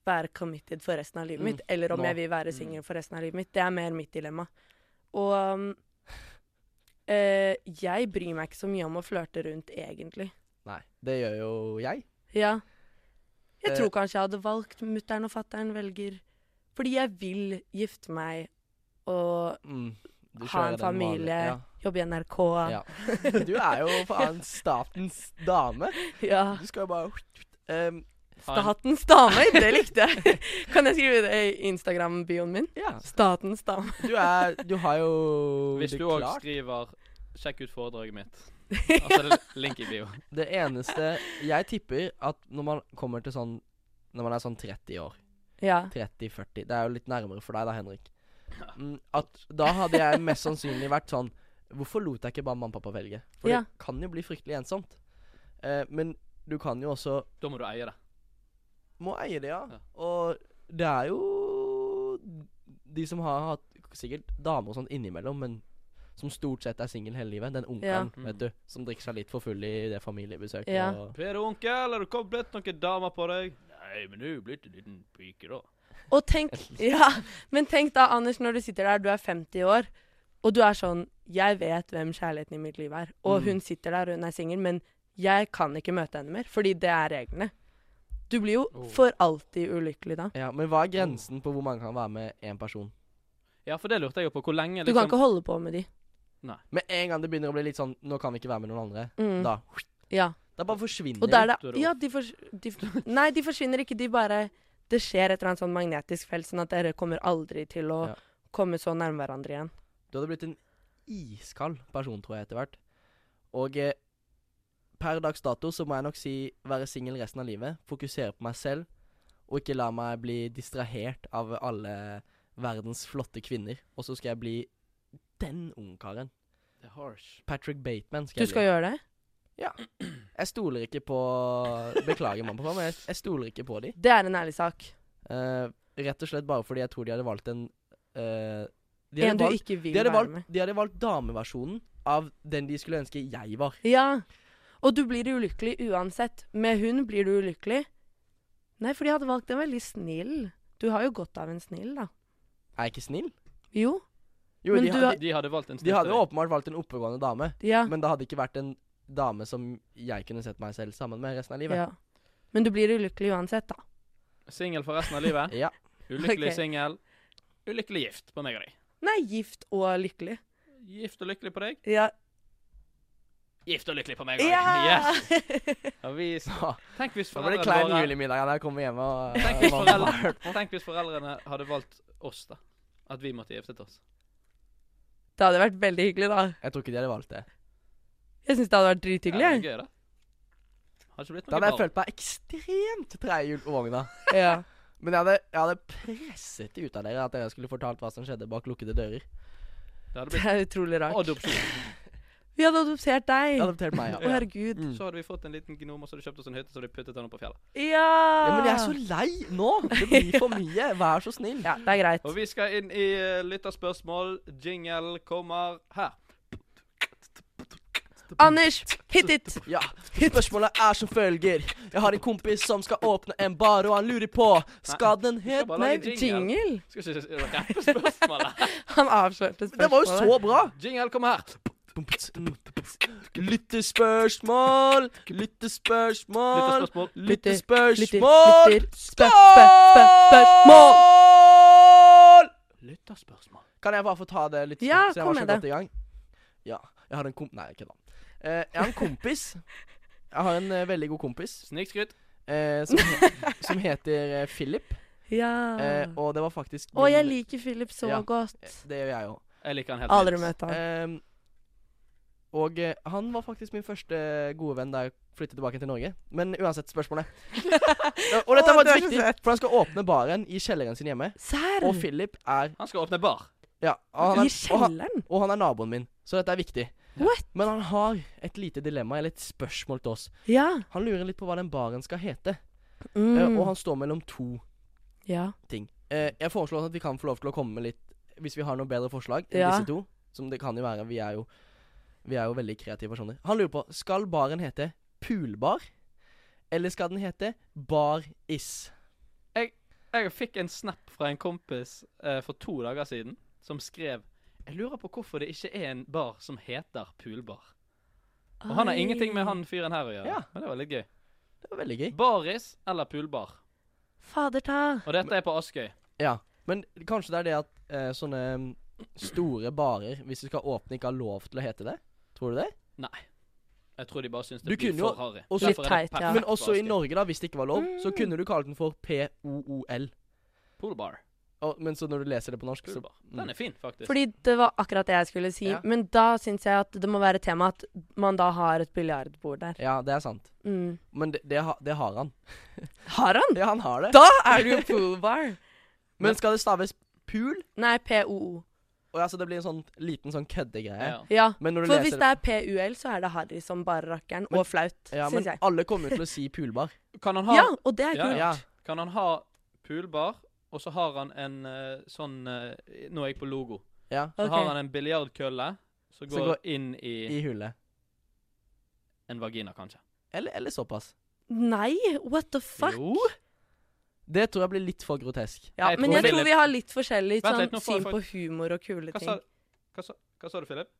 S3: være committed for resten av livet
S2: Mm,
S3: mitt, eller om
S2: nå. Mm.
S3: jeg vil være singel for resten av livet mitt. Det er mer mitt dilemma. Og um, eh, jeg bryr meg ikke så mye om å flørte rundt, egentlig.
S2: nei, det gjør jo jeg.
S3: Ja. Jeg
S2: Eh.
S3: tror kanskje jeg hadde valgt mutter'n og fatter'n velger Fordi jeg vil gifte meg og
S2: Mm, du
S3: Ha en
S2: kjører den vanlige-
S3: familie. jobbe i NRK. Ja.
S2: Ja. ja. Du er jo faen statens dame. Du skal jo bare Ehm,
S1: Ha en-
S3: Statens dame, det likte jeg. Kan jeg skrive det i Instagram-bioen min?
S2: Ja.
S3: Statens dame.
S2: Du er Du har jo
S1: Hvis
S2: det
S1: du òg
S2: klart.
S1: skriver 'sjekk ut foredraget mitt', altså det er link i bio.
S2: Det eneste Jeg tipper at når man kommer til sånn Når man er sånn 30 år
S3: Ja.
S2: 30-40. Det er jo litt nærmere for deg da, Henrik. Mm, at da hadde jeg mest sannsynlig vært sånn Hvorfor lot jeg ikke bare mamma og pappa velge? For
S3: Ja.
S2: det kan jo bli fryktelig ensomt. Eh, men du kan jo også
S1: Da må du eie det.
S2: Må eie det, ja.
S1: Ja.
S2: Og det er jo de som har hatt sikkert damer og sånt innimellom, men som stort sett er singel hele livet. Den
S3: Ja.
S2: onkelen,
S1: Mm.
S2: vet du, som drikker seg litt for full i det familiebesøket.
S3: Ja.
S2: Og
S1: Per og onkel, har du kommet blitt noen damer på deg? Nei, men du er jo blitt en liten pike, da.
S3: Og tenk Ja, men tenk da, Anders, når du sitter der, du er 50 år, og du er sånn Jeg vet hvem kjærligheten i mitt liv er, og
S2: Mm.
S3: hun sitter der, og hun er singel, men jeg kan ikke møte henne mer, fordi det er reglene. Du blir jo
S1: Oh.
S3: for alltid ulykkelig da.
S2: ja, Men hva er grensen på hvor mange kan være med én person?
S1: Ja, for det lurte jeg jo på. Hvor lenge liksom-
S2: Liksom
S3: Du kan ikke holde på med de.
S2: Med en gang det begynner å bli litt sånn Nå kan vi ikke være med noen andre.
S3: Mm.
S2: Da,
S3: Ja.
S2: da bare forsvinner
S3: Og da er
S1: Da er
S3: det
S1: det
S3: Ja, de, fors de Nei, de forsvinner ikke. De bare Det skjer et eller annet sånn magnetisk felt, sånn at dere kommer aldri til å
S2: Ja.
S3: komme så nærme hverandre igjen.
S2: Du hadde blitt en iskald person, tror jeg, etter hvert. Og eh, per dags dato så må jeg nok si være singel resten av livet. Fokusere på meg selv. Og ikke la meg bli distrahert av alle verdens flotte kvinner. Og så skal jeg bli den ungkaren.
S1: Det er harsh.
S2: Patrick Bateman.
S3: Du
S2: Skal
S3: skal
S2: jeg,
S3: gjøre det?
S2: bli. jeg stoler ikke på Beklager, mamma og pappa, men jeg, jeg stoler ikke på de.
S3: Det er en ærlig sak.
S2: Eh, rett og slett bare fordi jeg tror de hadde valgt en eh, de hadde
S3: En du
S2: valgt-
S3: ikke vil
S2: De hadde,
S3: være
S2: valgt,
S3: med.
S2: de hadde valgt dameversjonen av den de skulle ønske jeg var.
S3: Ja. Og du blir ulykkelig uansett. Med hun blir du ulykkelig. Nei, for de hadde valgt en veldig snill. Du har jo godt av en snill, da.
S2: Er jeg ikke snill?
S3: Jo.
S2: Jo,
S3: Men
S2: de,
S3: du
S2: ha-
S3: har-
S2: de,
S1: De hadde valgt en
S2: de hadde
S1: snitter.
S2: åpenbart valgt en oppegående dame,
S3: Ja.
S2: men det hadde ikke vært en dame som jeg kunne sett meg selv sammen med resten av livet.
S3: Ja. Men du blir ulykkelig uansett, da.
S1: Singel for resten av livet.
S2: Ja.
S1: Ulykkelig
S3: Ok.
S1: singel. Ulykkelig gift på meg og deg.
S3: Nei, gift og lykkelig.
S1: Gift og lykkelig på deg.
S3: Ja.
S1: Gift og lykkelig på meg og deg.
S3: ja!
S1: Yes! Og vi,
S2: Så,
S1: tenk hvis
S2: da blir det
S1: foreldrene
S2: klein
S1: våre
S2: julemiddag når jeg kommer hjem og eh,
S1: tenk hvis,
S2: mamma-
S1: foreldre, tenk hvis foreldrene hadde valgt oss, da. At vi måtte giftet oss.
S3: det hadde vært veldig hyggelig, da.
S2: Jeg tror ikke de hadde valgt det.
S3: Jeg syns det hadde vært
S1: Ja,
S3: drithyggelig.
S1: det er
S3: jeg.
S1: gøy, da. Har ikke blitt noe
S2: Da hadde jeg
S1: barn.
S2: følt meg ekstremt tredje vogna.
S3: Ja.
S2: Men jeg hadde, jeg hadde presset det ut av dere at dere skulle fortalt hva som skjedde bak lukkede dører.
S1: Det hadde
S3: Det
S1: blitt
S3: er utrolig rart.
S1: adopsjon.
S3: Vi hadde adoptert deg.
S2: Jeg
S3: Å,
S2: hadde fortalt meg, ja.
S3: herregud.
S2: Mm.
S1: Så hadde vi fått en liten gnom, og så hadde de kjøpt oss en hytte, så hadde de puttet den opp på fjellet.
S3: Ja.
S2: ja. Men jeg er så lei nå! Det blir for mye. Vær så snill.
S3: Ja, det er greit.
S1: Og vi skal inn i eh, lytterspørsmål. Jingle kommer her.
S3: Anders, hit it!
S2: Ja, Spørsmålet er som følger. Jeg har en kompis som skal åpne en bar, og han lurer på Skal den
S1: skal
S2: het
S1: bare
S3: Nei,
S1: lage jingle.
S3: jingle.
S1: Skal ikke si- rappe spørsmålet.
S3: Han avslørte spørsmålet.
S2: Det var jo så bra!
S1: Jingle kommer her.
S2: Lyttespørsmål, lyttespørsmål,
S1: Lytterspørsmål.
S3: Lytter,
S2: lyttespørsmål
S3: lytter, spør, spør, spør, spørsmål!
S2: Spørsmål!
S1: Lytterspørsmål.
S2: Kan jeg bare få ta det litt
S3: Ja,
S2: så jeg
S3: kom
S2: var så
S3: med det.
S2: godt i gang? Ja. Jeg har en komp... Nei, ikke da. Eh, jeg har en kompis. Jeg har en eh, veldig god kompis
S1: Snikskryt.
S2: eh, som, he som heter eh, Philip.
S3: Ja.
S2: Eh, og det var faktisk
S3: Ah. Å, jeg
S2: min-
S3: liker Philip så
S2: Ja. Eh,
S3: godt.
S2: Det gjør jeg òg.
S1: Jeg liker han helt
S3: Aldri
S1: vilt.
S3: møtt han.
S2: Ehm, og eh, han var faktisk min første gode venn da jeg flyttet tilbake til Norge. Men uansett, spørsmålet. Ja, og dette
S3: Å,
S2: var
S3: det er så
S2: viktig, for han skal åpne baren i kjelleren sin hjemme.
S3: Serr?
S2: Og Philip er
S1: Han skal åpne bar.
S2: Ja, og han
S3: I
S2: er, og han,
S3: kjelleren?
S2: og han er naboen min, så dette er viktig.
S3: What?
S2: Men han har et lite dilemma, eller et spørsmål til oss.
S3: Ja.
S2: Han lurer litt på hva den baren skal hete, eh,
S3: Mm.
S2: og han står mellom to
S3: ja.
S2: ting. Eh, jeg foreslår at vi kan få lov til å komme med litt Hvis vi har noen bedre forslag enn
S3: Ja.
S2: disse to. Som det kan jo være. Vi er jo, vi er jo veldig kreative personer. Han lurer på Skal baren hete Poolbar, eller skal den hete Bar Is?
S1: Jeg fikk en snap fra en kompis eh, for to dager siden som skrev Jeg lurer på hvorfor det ikke er en bar som heter Poolbar. Og han har
S3: Oi.
S1: ingenting med han fyren her å gjøre.
S2: Ja.
S1: Men det var litt gøy.
S2: Det var veldig gøy.
S1: Baris eller poolbar?
S3: Fader ta.
S1: Og dette er på Askøy.
S2: Ja. Men kanskje det er det at eh, sånne mm, store barer, hvis du skal åpne, ikke har lov til å hete det? Tror du det?
S1: Nei. Jeg tror de bare syns
S2: Du
S1: det blir
S2: kunne jo
S1: for harry. Derfor
S2: også-
S1: er det
S3: Litt teit, ja.
S1: perfekt
S2: Men
S1: på
S2: også i
S1: Askøy.
S2: Norge, da, hvis det ikke var lov, så
S3: Mm.
S2: kunne du kalt den for POOL.
S1: Poolbar.
S2: Og- Men så når du leser det på norsk, så mm.
S1: Poolbar. Den er fin, faktisk.
S3: Fordi det var akkurat det jeg skulle si.
S2: Ja.
S3: Men da syns jeg at det må være tema at man da har et biljardbord der.
S2: Ja, det er sant.
S3: Mm.
S2: Men det, det, ha, det har han.
S3: Har han?
S2: Ja, han har det.
S3: Da er det jo poolbar.
S2: Men skal det staves pool?
S3: Nei, POO.
S2: Og altså, det blir en sånn liten sånn køddegreie.
S1: ja.
S3: Ja.
S2: Men når du
S3: For hvis
S2: leser
S3: det er PUL, så er det harry som bare rakkeren,
S2: Men-
S3: og flaut,
S2: ja,
S3: syns
S2: men
S3: jeg.
S2: alle kommer jo til å si poolbar.
S1: Kan han ha,
S3: Ja, og det er
S1: Ja,
S3: kult.
S2: Ja.
S1: kan han ha poolbar, og så har han en eh, sånn eh, Nå er jeg på logo.
S2: ja.
S1: Så
S3: Ok.
S1: har han en biljardkølle som
S2: Som
S1: går,
S2: går
S1: inn i,
S2: I hullet.
S1: en vagina, kanskje.
S2: Eller, eller såpass.
S3: Nei, what the fuck?
S1: Jo.
S2: Det tror jeg blir litt for grotesk.
S3: Ja,
S1: Jeg
S3: men
S1: tror
S3: jeg tror
S1: Philip-
S3: vi har litt forskjellig
S1: Vent
S3: sånn,
S1: litt, nå får jeg
S3: syn på humor og kule
S1: Hva
S3: ting.
S1: sa, hva, sa, hva sa du, Philip?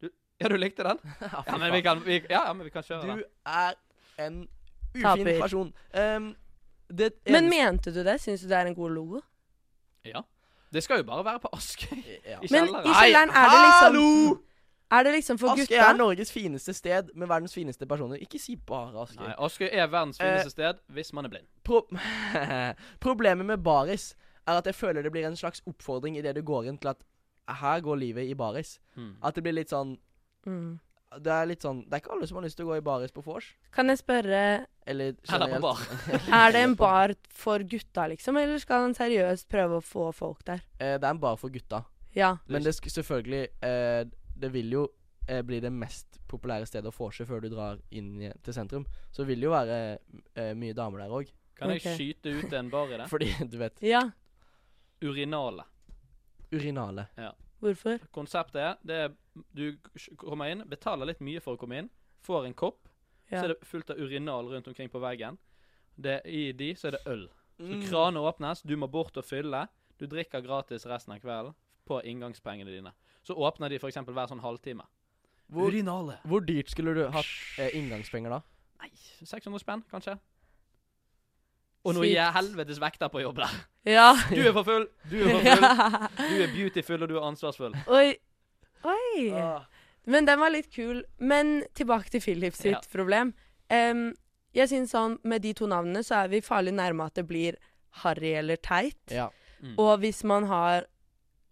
S1: Du, ja, du likte den?
S2: Ja,
S1: Ja, men vi kan, vi, ja, ja, men vi kan kjøre den.
S2: Du er en ufin
S3: Taper.
S2: person. Ehm, det
S3: Men
S2: eneste-
S3: mente du det? Syns du det er en god logo?
S1: Ja. Det skal jo bare være på Askøy.
S2: ja.
S1: I
S3: Men
S1: kjelleren.
S3: i kjelleren er det liksom
S2: Hallo!
S3: Er det liksom for
S2: Askøy er
S3: gutta?
S2: Norges fineste sted med verdens fineste personer. Ikke si bare Askøy.
S1: Nei, Askøy Eh, er verdens fineste sted hvis man er blind.
S2: Pro Problemet med baris er at jeg føler det blir en slags oppfordring idet du går inn til at her går livet i baris.
S1: Hmm.
S2: At det blir litt sånn
S3: Mm.
S2: Det er litt sånn Det er ikke alle som har lyst til å gå i baris på vors.
S3: Kan jeg spørre,
S2: Eller
S1: Eller på
S2: generelt.
S1: bar.
S3: er det en bar for gutta, liksom? Eller skal han seriøst prøve å få folk der?
S2: Eh, det er en bar for gutta.
S3: Ja.
S2: Men det sk selvfølgelig eh, Det vil jo eh, bli det mest populære stedet å vorse før du drar inn i, til sentrum. Så vil det jo være eh, mye damer der òg.
S1: Kan jeg
S3: Ok.
S1: skyte ut en bar i det?
S2: Fordi, du vet
S3: Ja.
S1: Urinale.
S2: Urinale.
S3: Hvorfor?
S1: Konseptet er, det er du k- kommer inn, betaler litt mye for å komme inn, får en kopp, så
S3: Ja.
S1: er det fullt av urinal rundt omkring på veggen. Det, I de så er det øl. Så
S2: Mm.
S1: kraner åpnes, du må bort og fylle. Du drikker gratis resten av kvelden på inngangspengene dine. Så åpner de f.eks. hver sånn halvtime.
S2: Hvor,
S1: Urinale.
S2: hvor dyrt skulle du hatt eh, inngangspenger
S3: Mm.
S2: da?
S1: Nei, 600 spenn, kanskje. Og nå
S3: Sykt.
S1: gir jeg helvetes vekter på jobb der.
S3: Ja.
S1: Du er for full, du er sånn- for full. Du er beautiful, og du er ansvarsfull.
S3: Oi. Oi.
S1: Ah.
S3: Men den var litt kul. Men tilbake til Philip sitt
S1: Ja.
S3: problem. Em, jeg synes sånn, Med de to navnene så er vi farlig nærme at det blir harry eller teit.
S2: Ja.
S3: Og hvis man har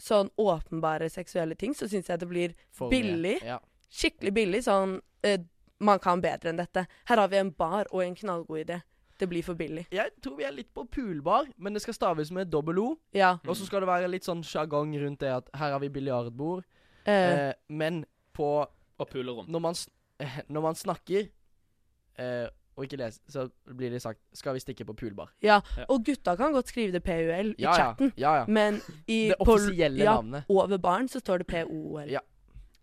S3: sånn åpenbare seksuelle ting, så syns jeg det blir
S2: for mye.
S3: Billig?
S2: Ja.
S3: skikkelig billig. Sånn eh, Man kan bedre enn dette. Her har vi en bar og en knallgod idé. Det blir for billig.
S2: Jeg tror vi er litt på pulbar, men det skal staves med dobbel O.
S3: Ja.
S2: Og så skal det være litt sånn sjargong rundt det at her har vi biljardbord.
S3: eh,
S2: Eh, men på
S1: Og pulerom.
S2: når man, sn- eh, når man snakker eh, og ikke leser, så blir det sagt 'skal vi stikke på pulbar'.
S3: ja.
S1: ja.
S3: Og gutta kan godt skrive det PUL i
S2: Ja, ja.
S3: chatten,
S2: ja, ja.
S3: men i,
S2: Det
S3: på-
S2: offisielle
S3: ja,
S2: navnet.
S3: over baren så står det POL.
S2: Ja.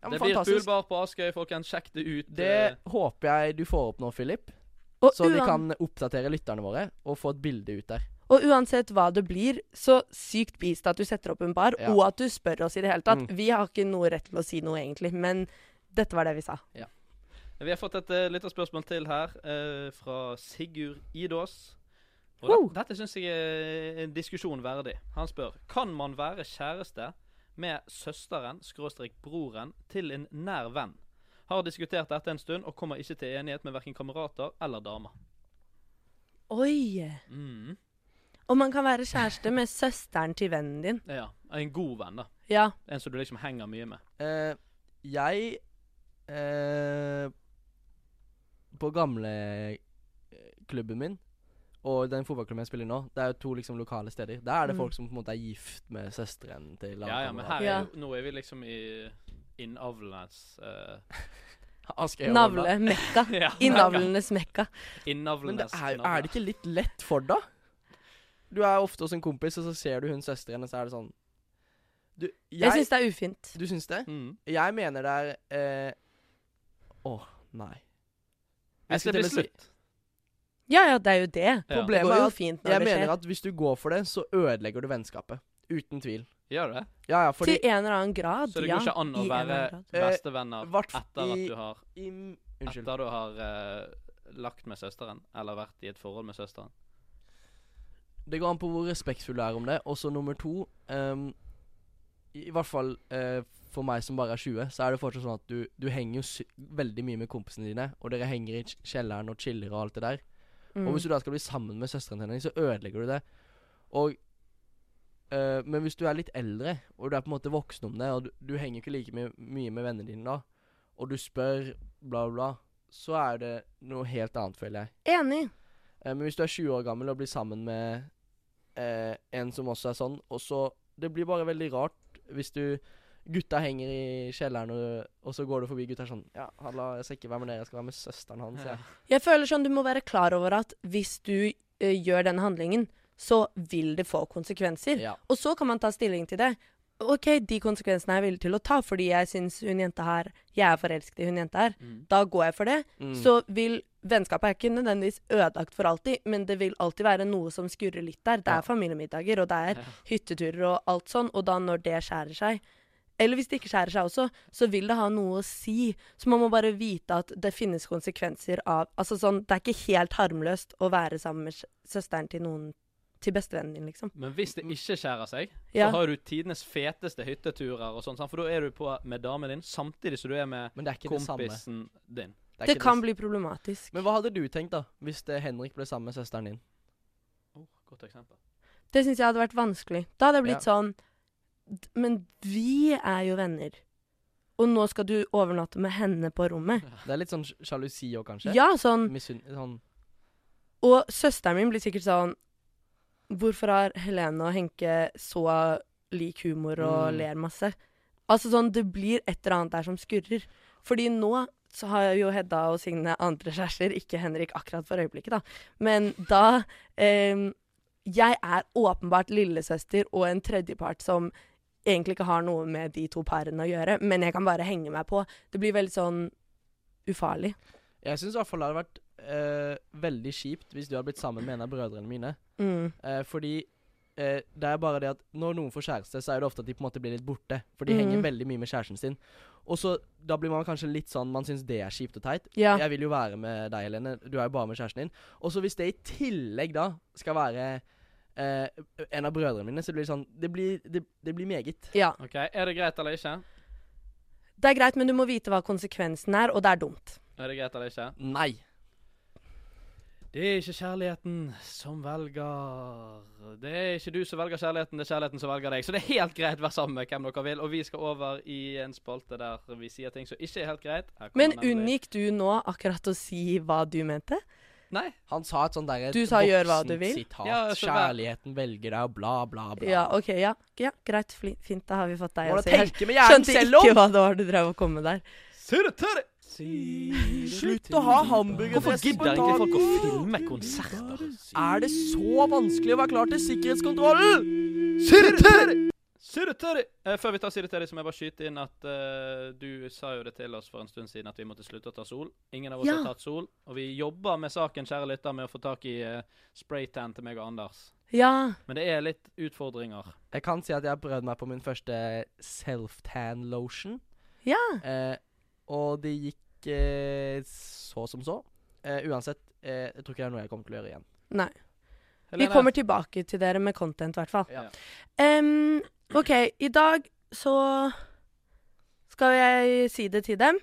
S2: Ja, men
S1: Det blir
S2: fantastisk.
S1: poolbar på Askøy, folkens. Sjekk det ut.
S2: Det håper jeg du får opp nå, Philip.
S3: Og
S2: Så vi
S3: uan-
S2: kan oppdatere lytterne våre og få et bilde ut der.
S3: Og uansett hva det blir, så sykt beast at du setter opp en bar,
S2: Ja.
S3: og at du spør oss i det hele tatt.
S2: Mm.
S3: Vi har ikke noe rett til å si noe, egentlig, men dette var det vi sa.
S1: Vi har fått et uh, lytterspørsmål til her, eh, fra Sigurd Idås. Og
S3: Wow.
S1: det, dette syns jeg er en diskusjon verdig. Han spør Kan man være kjæreste med søsteren, skråstrek broren, til en nær venn. Har diskutert dette en stund og kommer ikke til enighet med verken kamerater eller damer.
S3: Oi!
S1: Mm.
S3: Og man kan være kjæreste med søsteren til vennen din.
S1: Ja. En god venn, da.
S3: Ja.
S1: En som du liksom henger mye med.
S2: Eh, jeg eh, På gamleklubben min og den fotballklubben jeg spiller i nå, det er jo to liksom lokale steder. Der er det
S3: Mm.
S2: folk som på en måte er gift med søsteren til
S1: Ja, ja, men her
S2: lagkameraten.
S1: er
S3: Ja.
S1: jo, nå er vi liksom i innavlenes eh,
S2: Askøy og Volda.
S3: Navlemekka.
S1: ja,
S3: I navlenes mekka.
S2: Men det
S1: Innavlenes
S2: er, er det ikke litt lett for deg? Du er ofte hos en kompis, og så ser du hun søsteren, og så er det sånn Du, jeg,
S3: Jeg syns det er ufint.
S2: du syns det?
S1: Mm.
S2: Jeg mener det er eh, Å, nei.
S1: Jeg skal bli
S2: til å si-
S1: slutt.
S3: Ja ja, det er jo det.
S1: Ja.
S3: Det
S2: Problemet
S3: går
S2: er
S3: jo
S2: at
S3: fint når
S2: Jeg
S3: det
S2: mener
S3: skjer.
S2: at hvis du går for det, så ødelegger du vennskapet. Uten tvil.
S1: Gjør det?
S2: Ja, ja, fordi
S3: Til en eller annen grad,
S1: Så det
S3: ja.
S1: går ikke an å
S3: i en eller
S1: være
S3: annen grad.
S2: grad.
S1: bestevenner
S2: Eh, hvert f-
S1: etter at
S2: i-
S1: du har,
S2: im- Unnskyld.
S1: etter du har eh, lagt med søsteren, eller vært i et forhold med søsteren?
S2: Det går an på hvor respektfull du er om det. Og så nummer to ehm, I i hvert fall eh, for meg som bare er 20, så er det fortsatt sånn at du, du henger jo sy veldig mye med kompisene dine, og dere henger i kj- kjelleren og chiller og alt det der.
S3: Mm.
S2: Og hvis du da skal bli sammen med søsteren hennes, så ødelegger du det. Og eh, Men hvis du er litt eldre, og du er på en måte voksen om det, og du, du henger ikke like mye, mye med vennene dine da, og du spør bla, bla, så er det noe helt annet, føler jeg.
S3: Enig.
S2: Eh, men hvis du er 20 år gammel og blir sammen med eh, en som også er sånn, og så Det blir bare veldig rart hvis du Gutta henger i kjelleren, og, og så går du forbi gutta sånn Ja, halla, jeg skal ikke være med dere, jeg skal være med søsteren hans, jeg.
S3: Jeg føler sånn du må være klar over at hvis du eh, gjør den handlingen, så vil det få konsekvenser.
S2: Ja.
S3: Og så kan man ta stilling til det. OK, de konsekvensene er jeg villig til å ta fordi jeg syns hun jenta her Jeg er forelsket i hun jenta her.
S1: Mm.
S3: Da går jeg for det.
S2: Mm.
S3: Så vil Vennskapet er ikke nødvendigvis ødelagt for alltid, men det vil alltid være noe som skurrer litt der. Det
S2: Ja.
S3: er familiemiddager, og det er
S1: Ja.
S3: hytteturer og alt sånn, og da når det skjærer seg eller hvis det ikke skjærer seg også, så vil det ha noe å si. Så man må bare vite at det finnes konsekvenser av Altså sånn, det er ikke helt harmløst å være sammen med s- søsteren til noen Til bestevennen din, liksom.
S1: Men hvis
S2: Mm.
S1: det ikke skjærer seg,
S3: Ja.
S1: så har du tidenes feteste hytteturer og sånn, sant? for da er du på med damen din samtidig som du er med
S2: Men det er ikke det samme.
S1: kompisen din.
S2: er
S3: Det
S2: ikke
S3: kan bli problematisk.
S2: Men hva hadde du tenkt da, hvis det Henrik ble sammen med søsteren din?
S1: Oh, godt eksempel.
S3: Det syns jeg hadde vært vanskelig. Da hadde jeg blitt
S2: Ja.
S3: sånn "D- Men vi er jo venner. Og nå skal du overnatte med henne på rommet.
S2: Det er litt sånn sj- sjalusi òg, kanskje?
S3: Ja, sånn.
S2: Misunn... Sånn
S3: Og søsteren min blir sikkert sånn Hvorfor har Helene og Henke så lik humor og
S2: Mm.
S3: ler masse? Altså sånn, det blir et eller annet der som skurrer. Fordi nå så har jo Hedda og Signe andre kjærester, ikke Henrik akkurat for øyeblikket, da. Men da eh, Jeg er åpenbart lillesøster og en tredjepart som egentlig ikke har noe med de to parene å gjøre, men jeg kan bare henge meg på. Det blir veldig sånn ufarlig.
S2: Jeg syns i hvert fall det hadde vært eh, veldig kjipt hvis du hadde blitt sammen med en av brødrene mine.
S3: Mm.
S2: Eh, fordi eh, det er bare det at når noen får kjæreste, så er det ofte at de på en måte blir litt borte. For de
S3: Mhm.
S2: henger veldig mye med kjæresten sin. Og så da blir man kanskje litt sånn Man syns det er kjipt og teit.
S3: Ja.
S2: Jeg vil jo være med deg, Helene. Du er jo bare med kjæresten din. Og så hvis det i tillegg da skal være eh, en av brødrene mine, så blir det sånn Det blir, det, det blir meget.
S3: ja.
S1: Ok, Er det greit eller ikke?
S3: Det er greit, men du må vite hva konsekvensen er, og det er dumt.
S1: Er det greit eller ikke?
S2: Nei.
S1: Det er ikke kjærligheten som velger Det er ikke du som velger kjærligheten, det er kjærligheten som velger deg. Så det er helt greit, vær sammen med hvem dere vil. Og vi skal over i en spalte der vi sier ting som ikke er helt greit. Her kommer
S3: Men
S1: nemlig-
S3: unngikk du nå akkurat å si hva du mente?
S1: Nei.
S2: Han sa et sånn derre
S3: Du sa, «Gjør hva du vil».
S2: Sitat,
S1: Ja, så vær-
S2: 'Kjærligheten velger deg', og bla, bla, bla.
S3: Ja, OK, ja. ja greit, fli- fint. Da har vi fått deg
S2: Må
S3: også.
S2: du
S3: Jeg
S2: tenke med hjernen
S3: skjønte
S2: selv om?
S3: ikke hva det var du drev og kom med der.
S1: Surre, tørre!
S2: Slutt å ha hamburger
S1: Hvorfor gidder ikke folk å filme konserter?
S2: Er det så vanskelig å være klar til sikkerhetskontrollen?
S1: Surre, tørre! Eh, Før vi tar Surre, tørre, så må jeg bare skyte inn at eh, du sa jo det til oss for en stund siden at vi måtte slutte å ta sol. Ingen av oss
S3: Ja.
S1: har tatt sol. Og vi jobber med saken, kjære lytter, med å få tak i eh, spraytan til meg og Anders.
S3: Ja.
S1: Men det er litt utfordringer.
S2: Jeg kan si at jeg har prøvd meg på min første self-tan lotion.
S3: Ja.
S2: Eh, og det gikk eh, så som så. Eh, uansett, eh, jeg tror ikke det er noe jeg kommer til å gjøre igjen.
S3: Nei. Vi
S1: Helene,
S3: kommer tilbake til dere med content, i hvert fall.
S1: Ja.
S3: Em, OK, i dag så skal jeg si det til dem.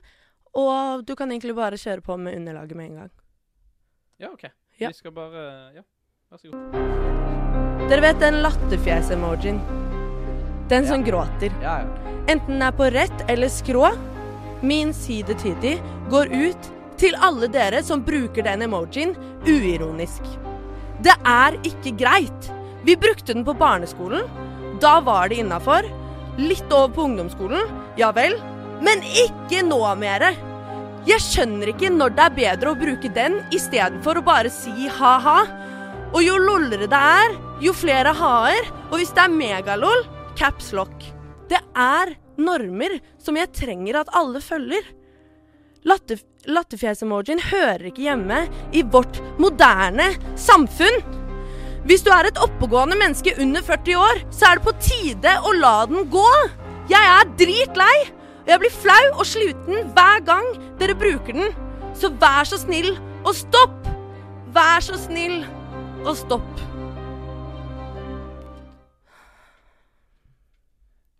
S3: Og du kan egentlig bare kjøre på med underlaget med en gang.
S1: Ja, OK.
S3: Ja.
S1: Vi skal bare Ja, vær så god.
S3: Dere vet den latterfjes-emojien? Den som gråter.
S2: Ja, ja.
S3: Enten den er på rett eller skrå. Min side til de går ut til alle dere som bruker den emojien uironisk. Det er ikke greit. Vi brukte den på barneskolen. Da var det innafor. Litt over på ungdomsskolen. Ja vel. Men ikke nå mere. Jeg skjønner ikke når det er bedre å bruke den istedenfor å bare si ha-ha. Og jo lollere det er, jo flere ha-er. Og hvis det er megalol, caps lock. Det er normer som jeg trenger at alle følger. Latter, Latterfjes-emojien hører ikke hjemme i vårt moderne samfunn. Hvis du er et oppegående menneske under 40 år, så er det på tide å la den gå. Jeg er dritlei, og jeg blir flau og sliten hver gang dere bruker den. Så vær så snill og stopp! Vær så snill og stopp.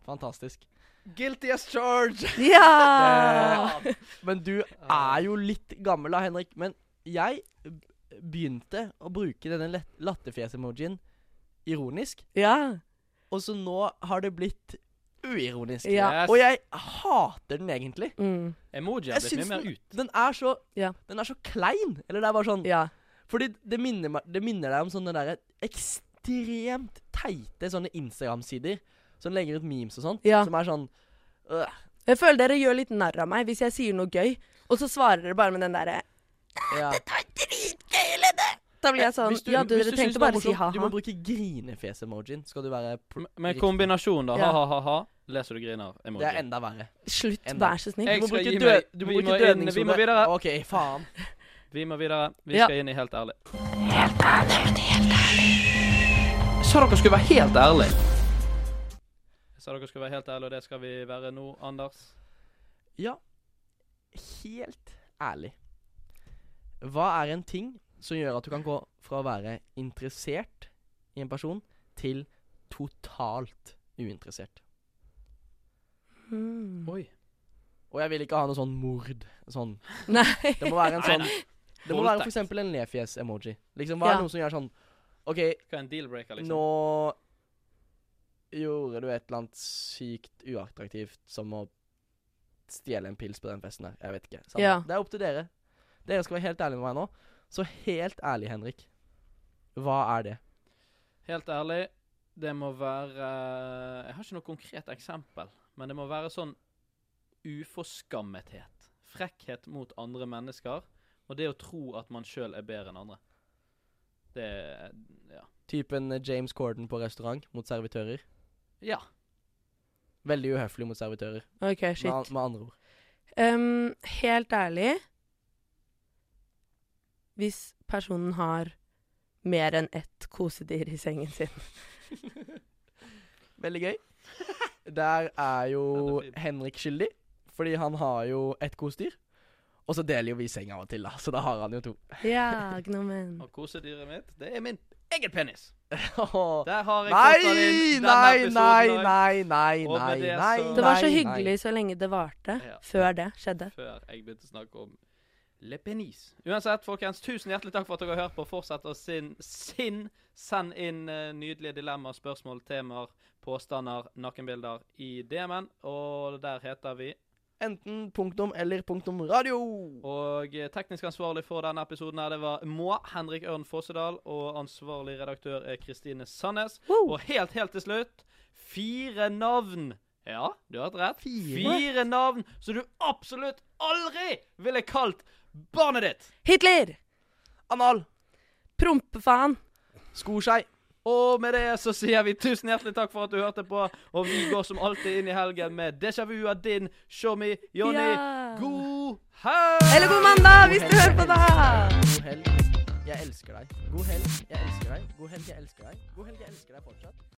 S2: Fantastisk.
S1: Guilty as charged!
S3: Ja!
S2: Eh, Men du er jo litt gammel da, Henrik. Men jeg b- begynte å bruke denne lett- latterfjes-emojien ironisk,
S3: Ja.
S2: og så nå har det blitt uironisk.
S3: Ja.
S1: Yes.
S2: Og jeg hater den egentlig.
S3: Mm.
S1: Emoji
S2: Jeg
S1: har blitt
S2: syns
S1: mye mer
S2: den,
S1: ut.
S2: den er så
S3: Ja.
S2: Den er så klein. Eller det er bare sånn
S3: Ja.
S2: Fordi det minner, meg- det minner deg om sånne derre ekstremt teite sånne Instagram-sider som legger ut memes og sånn,
S3: Ja.
S2: som er sånn øh,
S3: Jeg føler dere gjør litt narr av meg hvis jeg sier noe gøy, og så svarer dere bare med den derre
S2: ja.
S3: Da blir jeg
S2: Eh,
S3: sånn
S2: Hvis du-
S3: Ja, du,
S2: hvis
S3: dere
S2: du syns
S3: tenkte
S2: det er
S3: bare si
S2: morsomt, Du må
S3: ha-ha.
S2: bruke grinefjes-emojien. Skal du være pr
S1: M- Men
S2: riktig.
S1: kombinasjon, da.
S3: Ja.
S1: Ha-ha-ha. Leser du griner?
S2: Det er
S1: Emoji.
S2: enda verre.
S3: Slutt,
S2: Enda. Eh,
S3: vær så snill.
S1: Jeg
S2: Du må
S1: skal
S2: bruke,
S1: gi
S2: død,
S1: meg-
S2: du må
S1: vi
S2: bruke
S1: må inn- vi må
S2: dødningshode.
S1: videre.
S2: OK, faen.
S1: Vi må videre. Vi
S3: Ja.
S1: skal inn i Helt ærlig.
S4: Jeg sa dere skulle være helt ærlig.
S1: Jeg sa dere skulle være helt ærlige, og det skal vi være nå, Anders.
S2: Ja, helt ærlig. Hva er en ting som gjør at du kan gå fra å være interessert i en person til totalt uinteressert?
S3: Mm.
S1: Oi.
S2: Og jeg vil ikke ha noe sånn mord. Sånn.
S3: Nei.
S2: Det må være en
S1: Nei,
S2: sånn Det må være
S1: Voldtekt.
S2: for eksempel en lefjes-emoji. Liksom, hva er
S3: Ja.
S2: noe som gjør sånn OK,
S1: Hva er en deal-breaker, liksom?
S2: nå gjorde du et eller annet sykt uattraktivt som å stjele en pils på den festen her. Jeg vet ikke. Samme.
S3: Ja.
S2: Det er opp til dere. Dere skal være helt ærlige med meg nå. Så helt ærlig, Henrik. Hva er det?
S1: Helt ærlig, det må være eh, Jeg har ikke noe konkret eksempel, men det må være sånn uforskammethet. Frekkhet mot andre mennesker, og det å tro at man sjøl er bedre enn andre. Det Ja.
S2: Typen eh, James Corden på restaurant mot servitører.
S1: ja.
S2: Veldig uhøflig mot servitører,
S3: OK,
S2: med,
S3: shit.
S2: an- med andre ord.
S3: Um, helt ærlig Hvis personen har mer enn ett kosedyr i sengen sin
S2: Veldig gøy. Der
S1: Ja,
S2: er jo
S1: det er fint.
S2: Henrik skyldig, fordi han har jo ett kosedyr. Og så deler jo vi seng av og til, da, så da har han jo to.
S3: Ja, gnomen.
S1: Og kosedyret mitt, det er min egen penis.
S2: Åh.
S1: Der har jeg
S2: Nei,
S1: kortet inn denne
S2: nei,
S1: episoden
S2: nei,
S1: også,
S2: nei, nei,
S1: Og
S2: nei,
S1: med det
S2: nei.
S1: så-
S3: Det var så
S2: nei,
S3: hyggelig så lenge det varte,
S1: Ja.
S3: før det skjedde.
S1: Før jeg begynte å snakke om le penis. Uansett, folkens, tusen hjertelig takk for at dere har hørt på. Fortsett å sin, sin Send inn eh, nydelige dilemmaer, spørsmål, temaer, påstander, nakenbilder i DM-en. Og der heter vi
S2: nei. Enten punktum eller punktum radio.
S1: Og eh, teknisk ansvarlig for denne episoden her, det var Må, Henrik Ørn Fossedal, og ansvarlig redaktør er Kristine Sandnes.
S3: Wow.
S1: Og helt, helt til slutt, fire navn. Ja, du har hatt rett.
S2: Fire?
S1: fire navn som du absolutt aldri ville kalt barnet ditt.
S3: Hitler!
S2: Anal.
S3: Prompefaen!
S2: Skor seg.
S1: Og med det så sier vi tusen hjertelig takk for at du hørte på, og vi går som alltid inn i helgen med déjà vu av din Shommy Jonny.
S3: Ja.
S1: God helg!
S3: Eller god mandag, hvis du hører på, da!
S2: God helg. Jeg elsker deg. God helg. Jeg elsker deg. God helg. Jeg elsker deg. God helg. Jeg elsker deg fortsatt.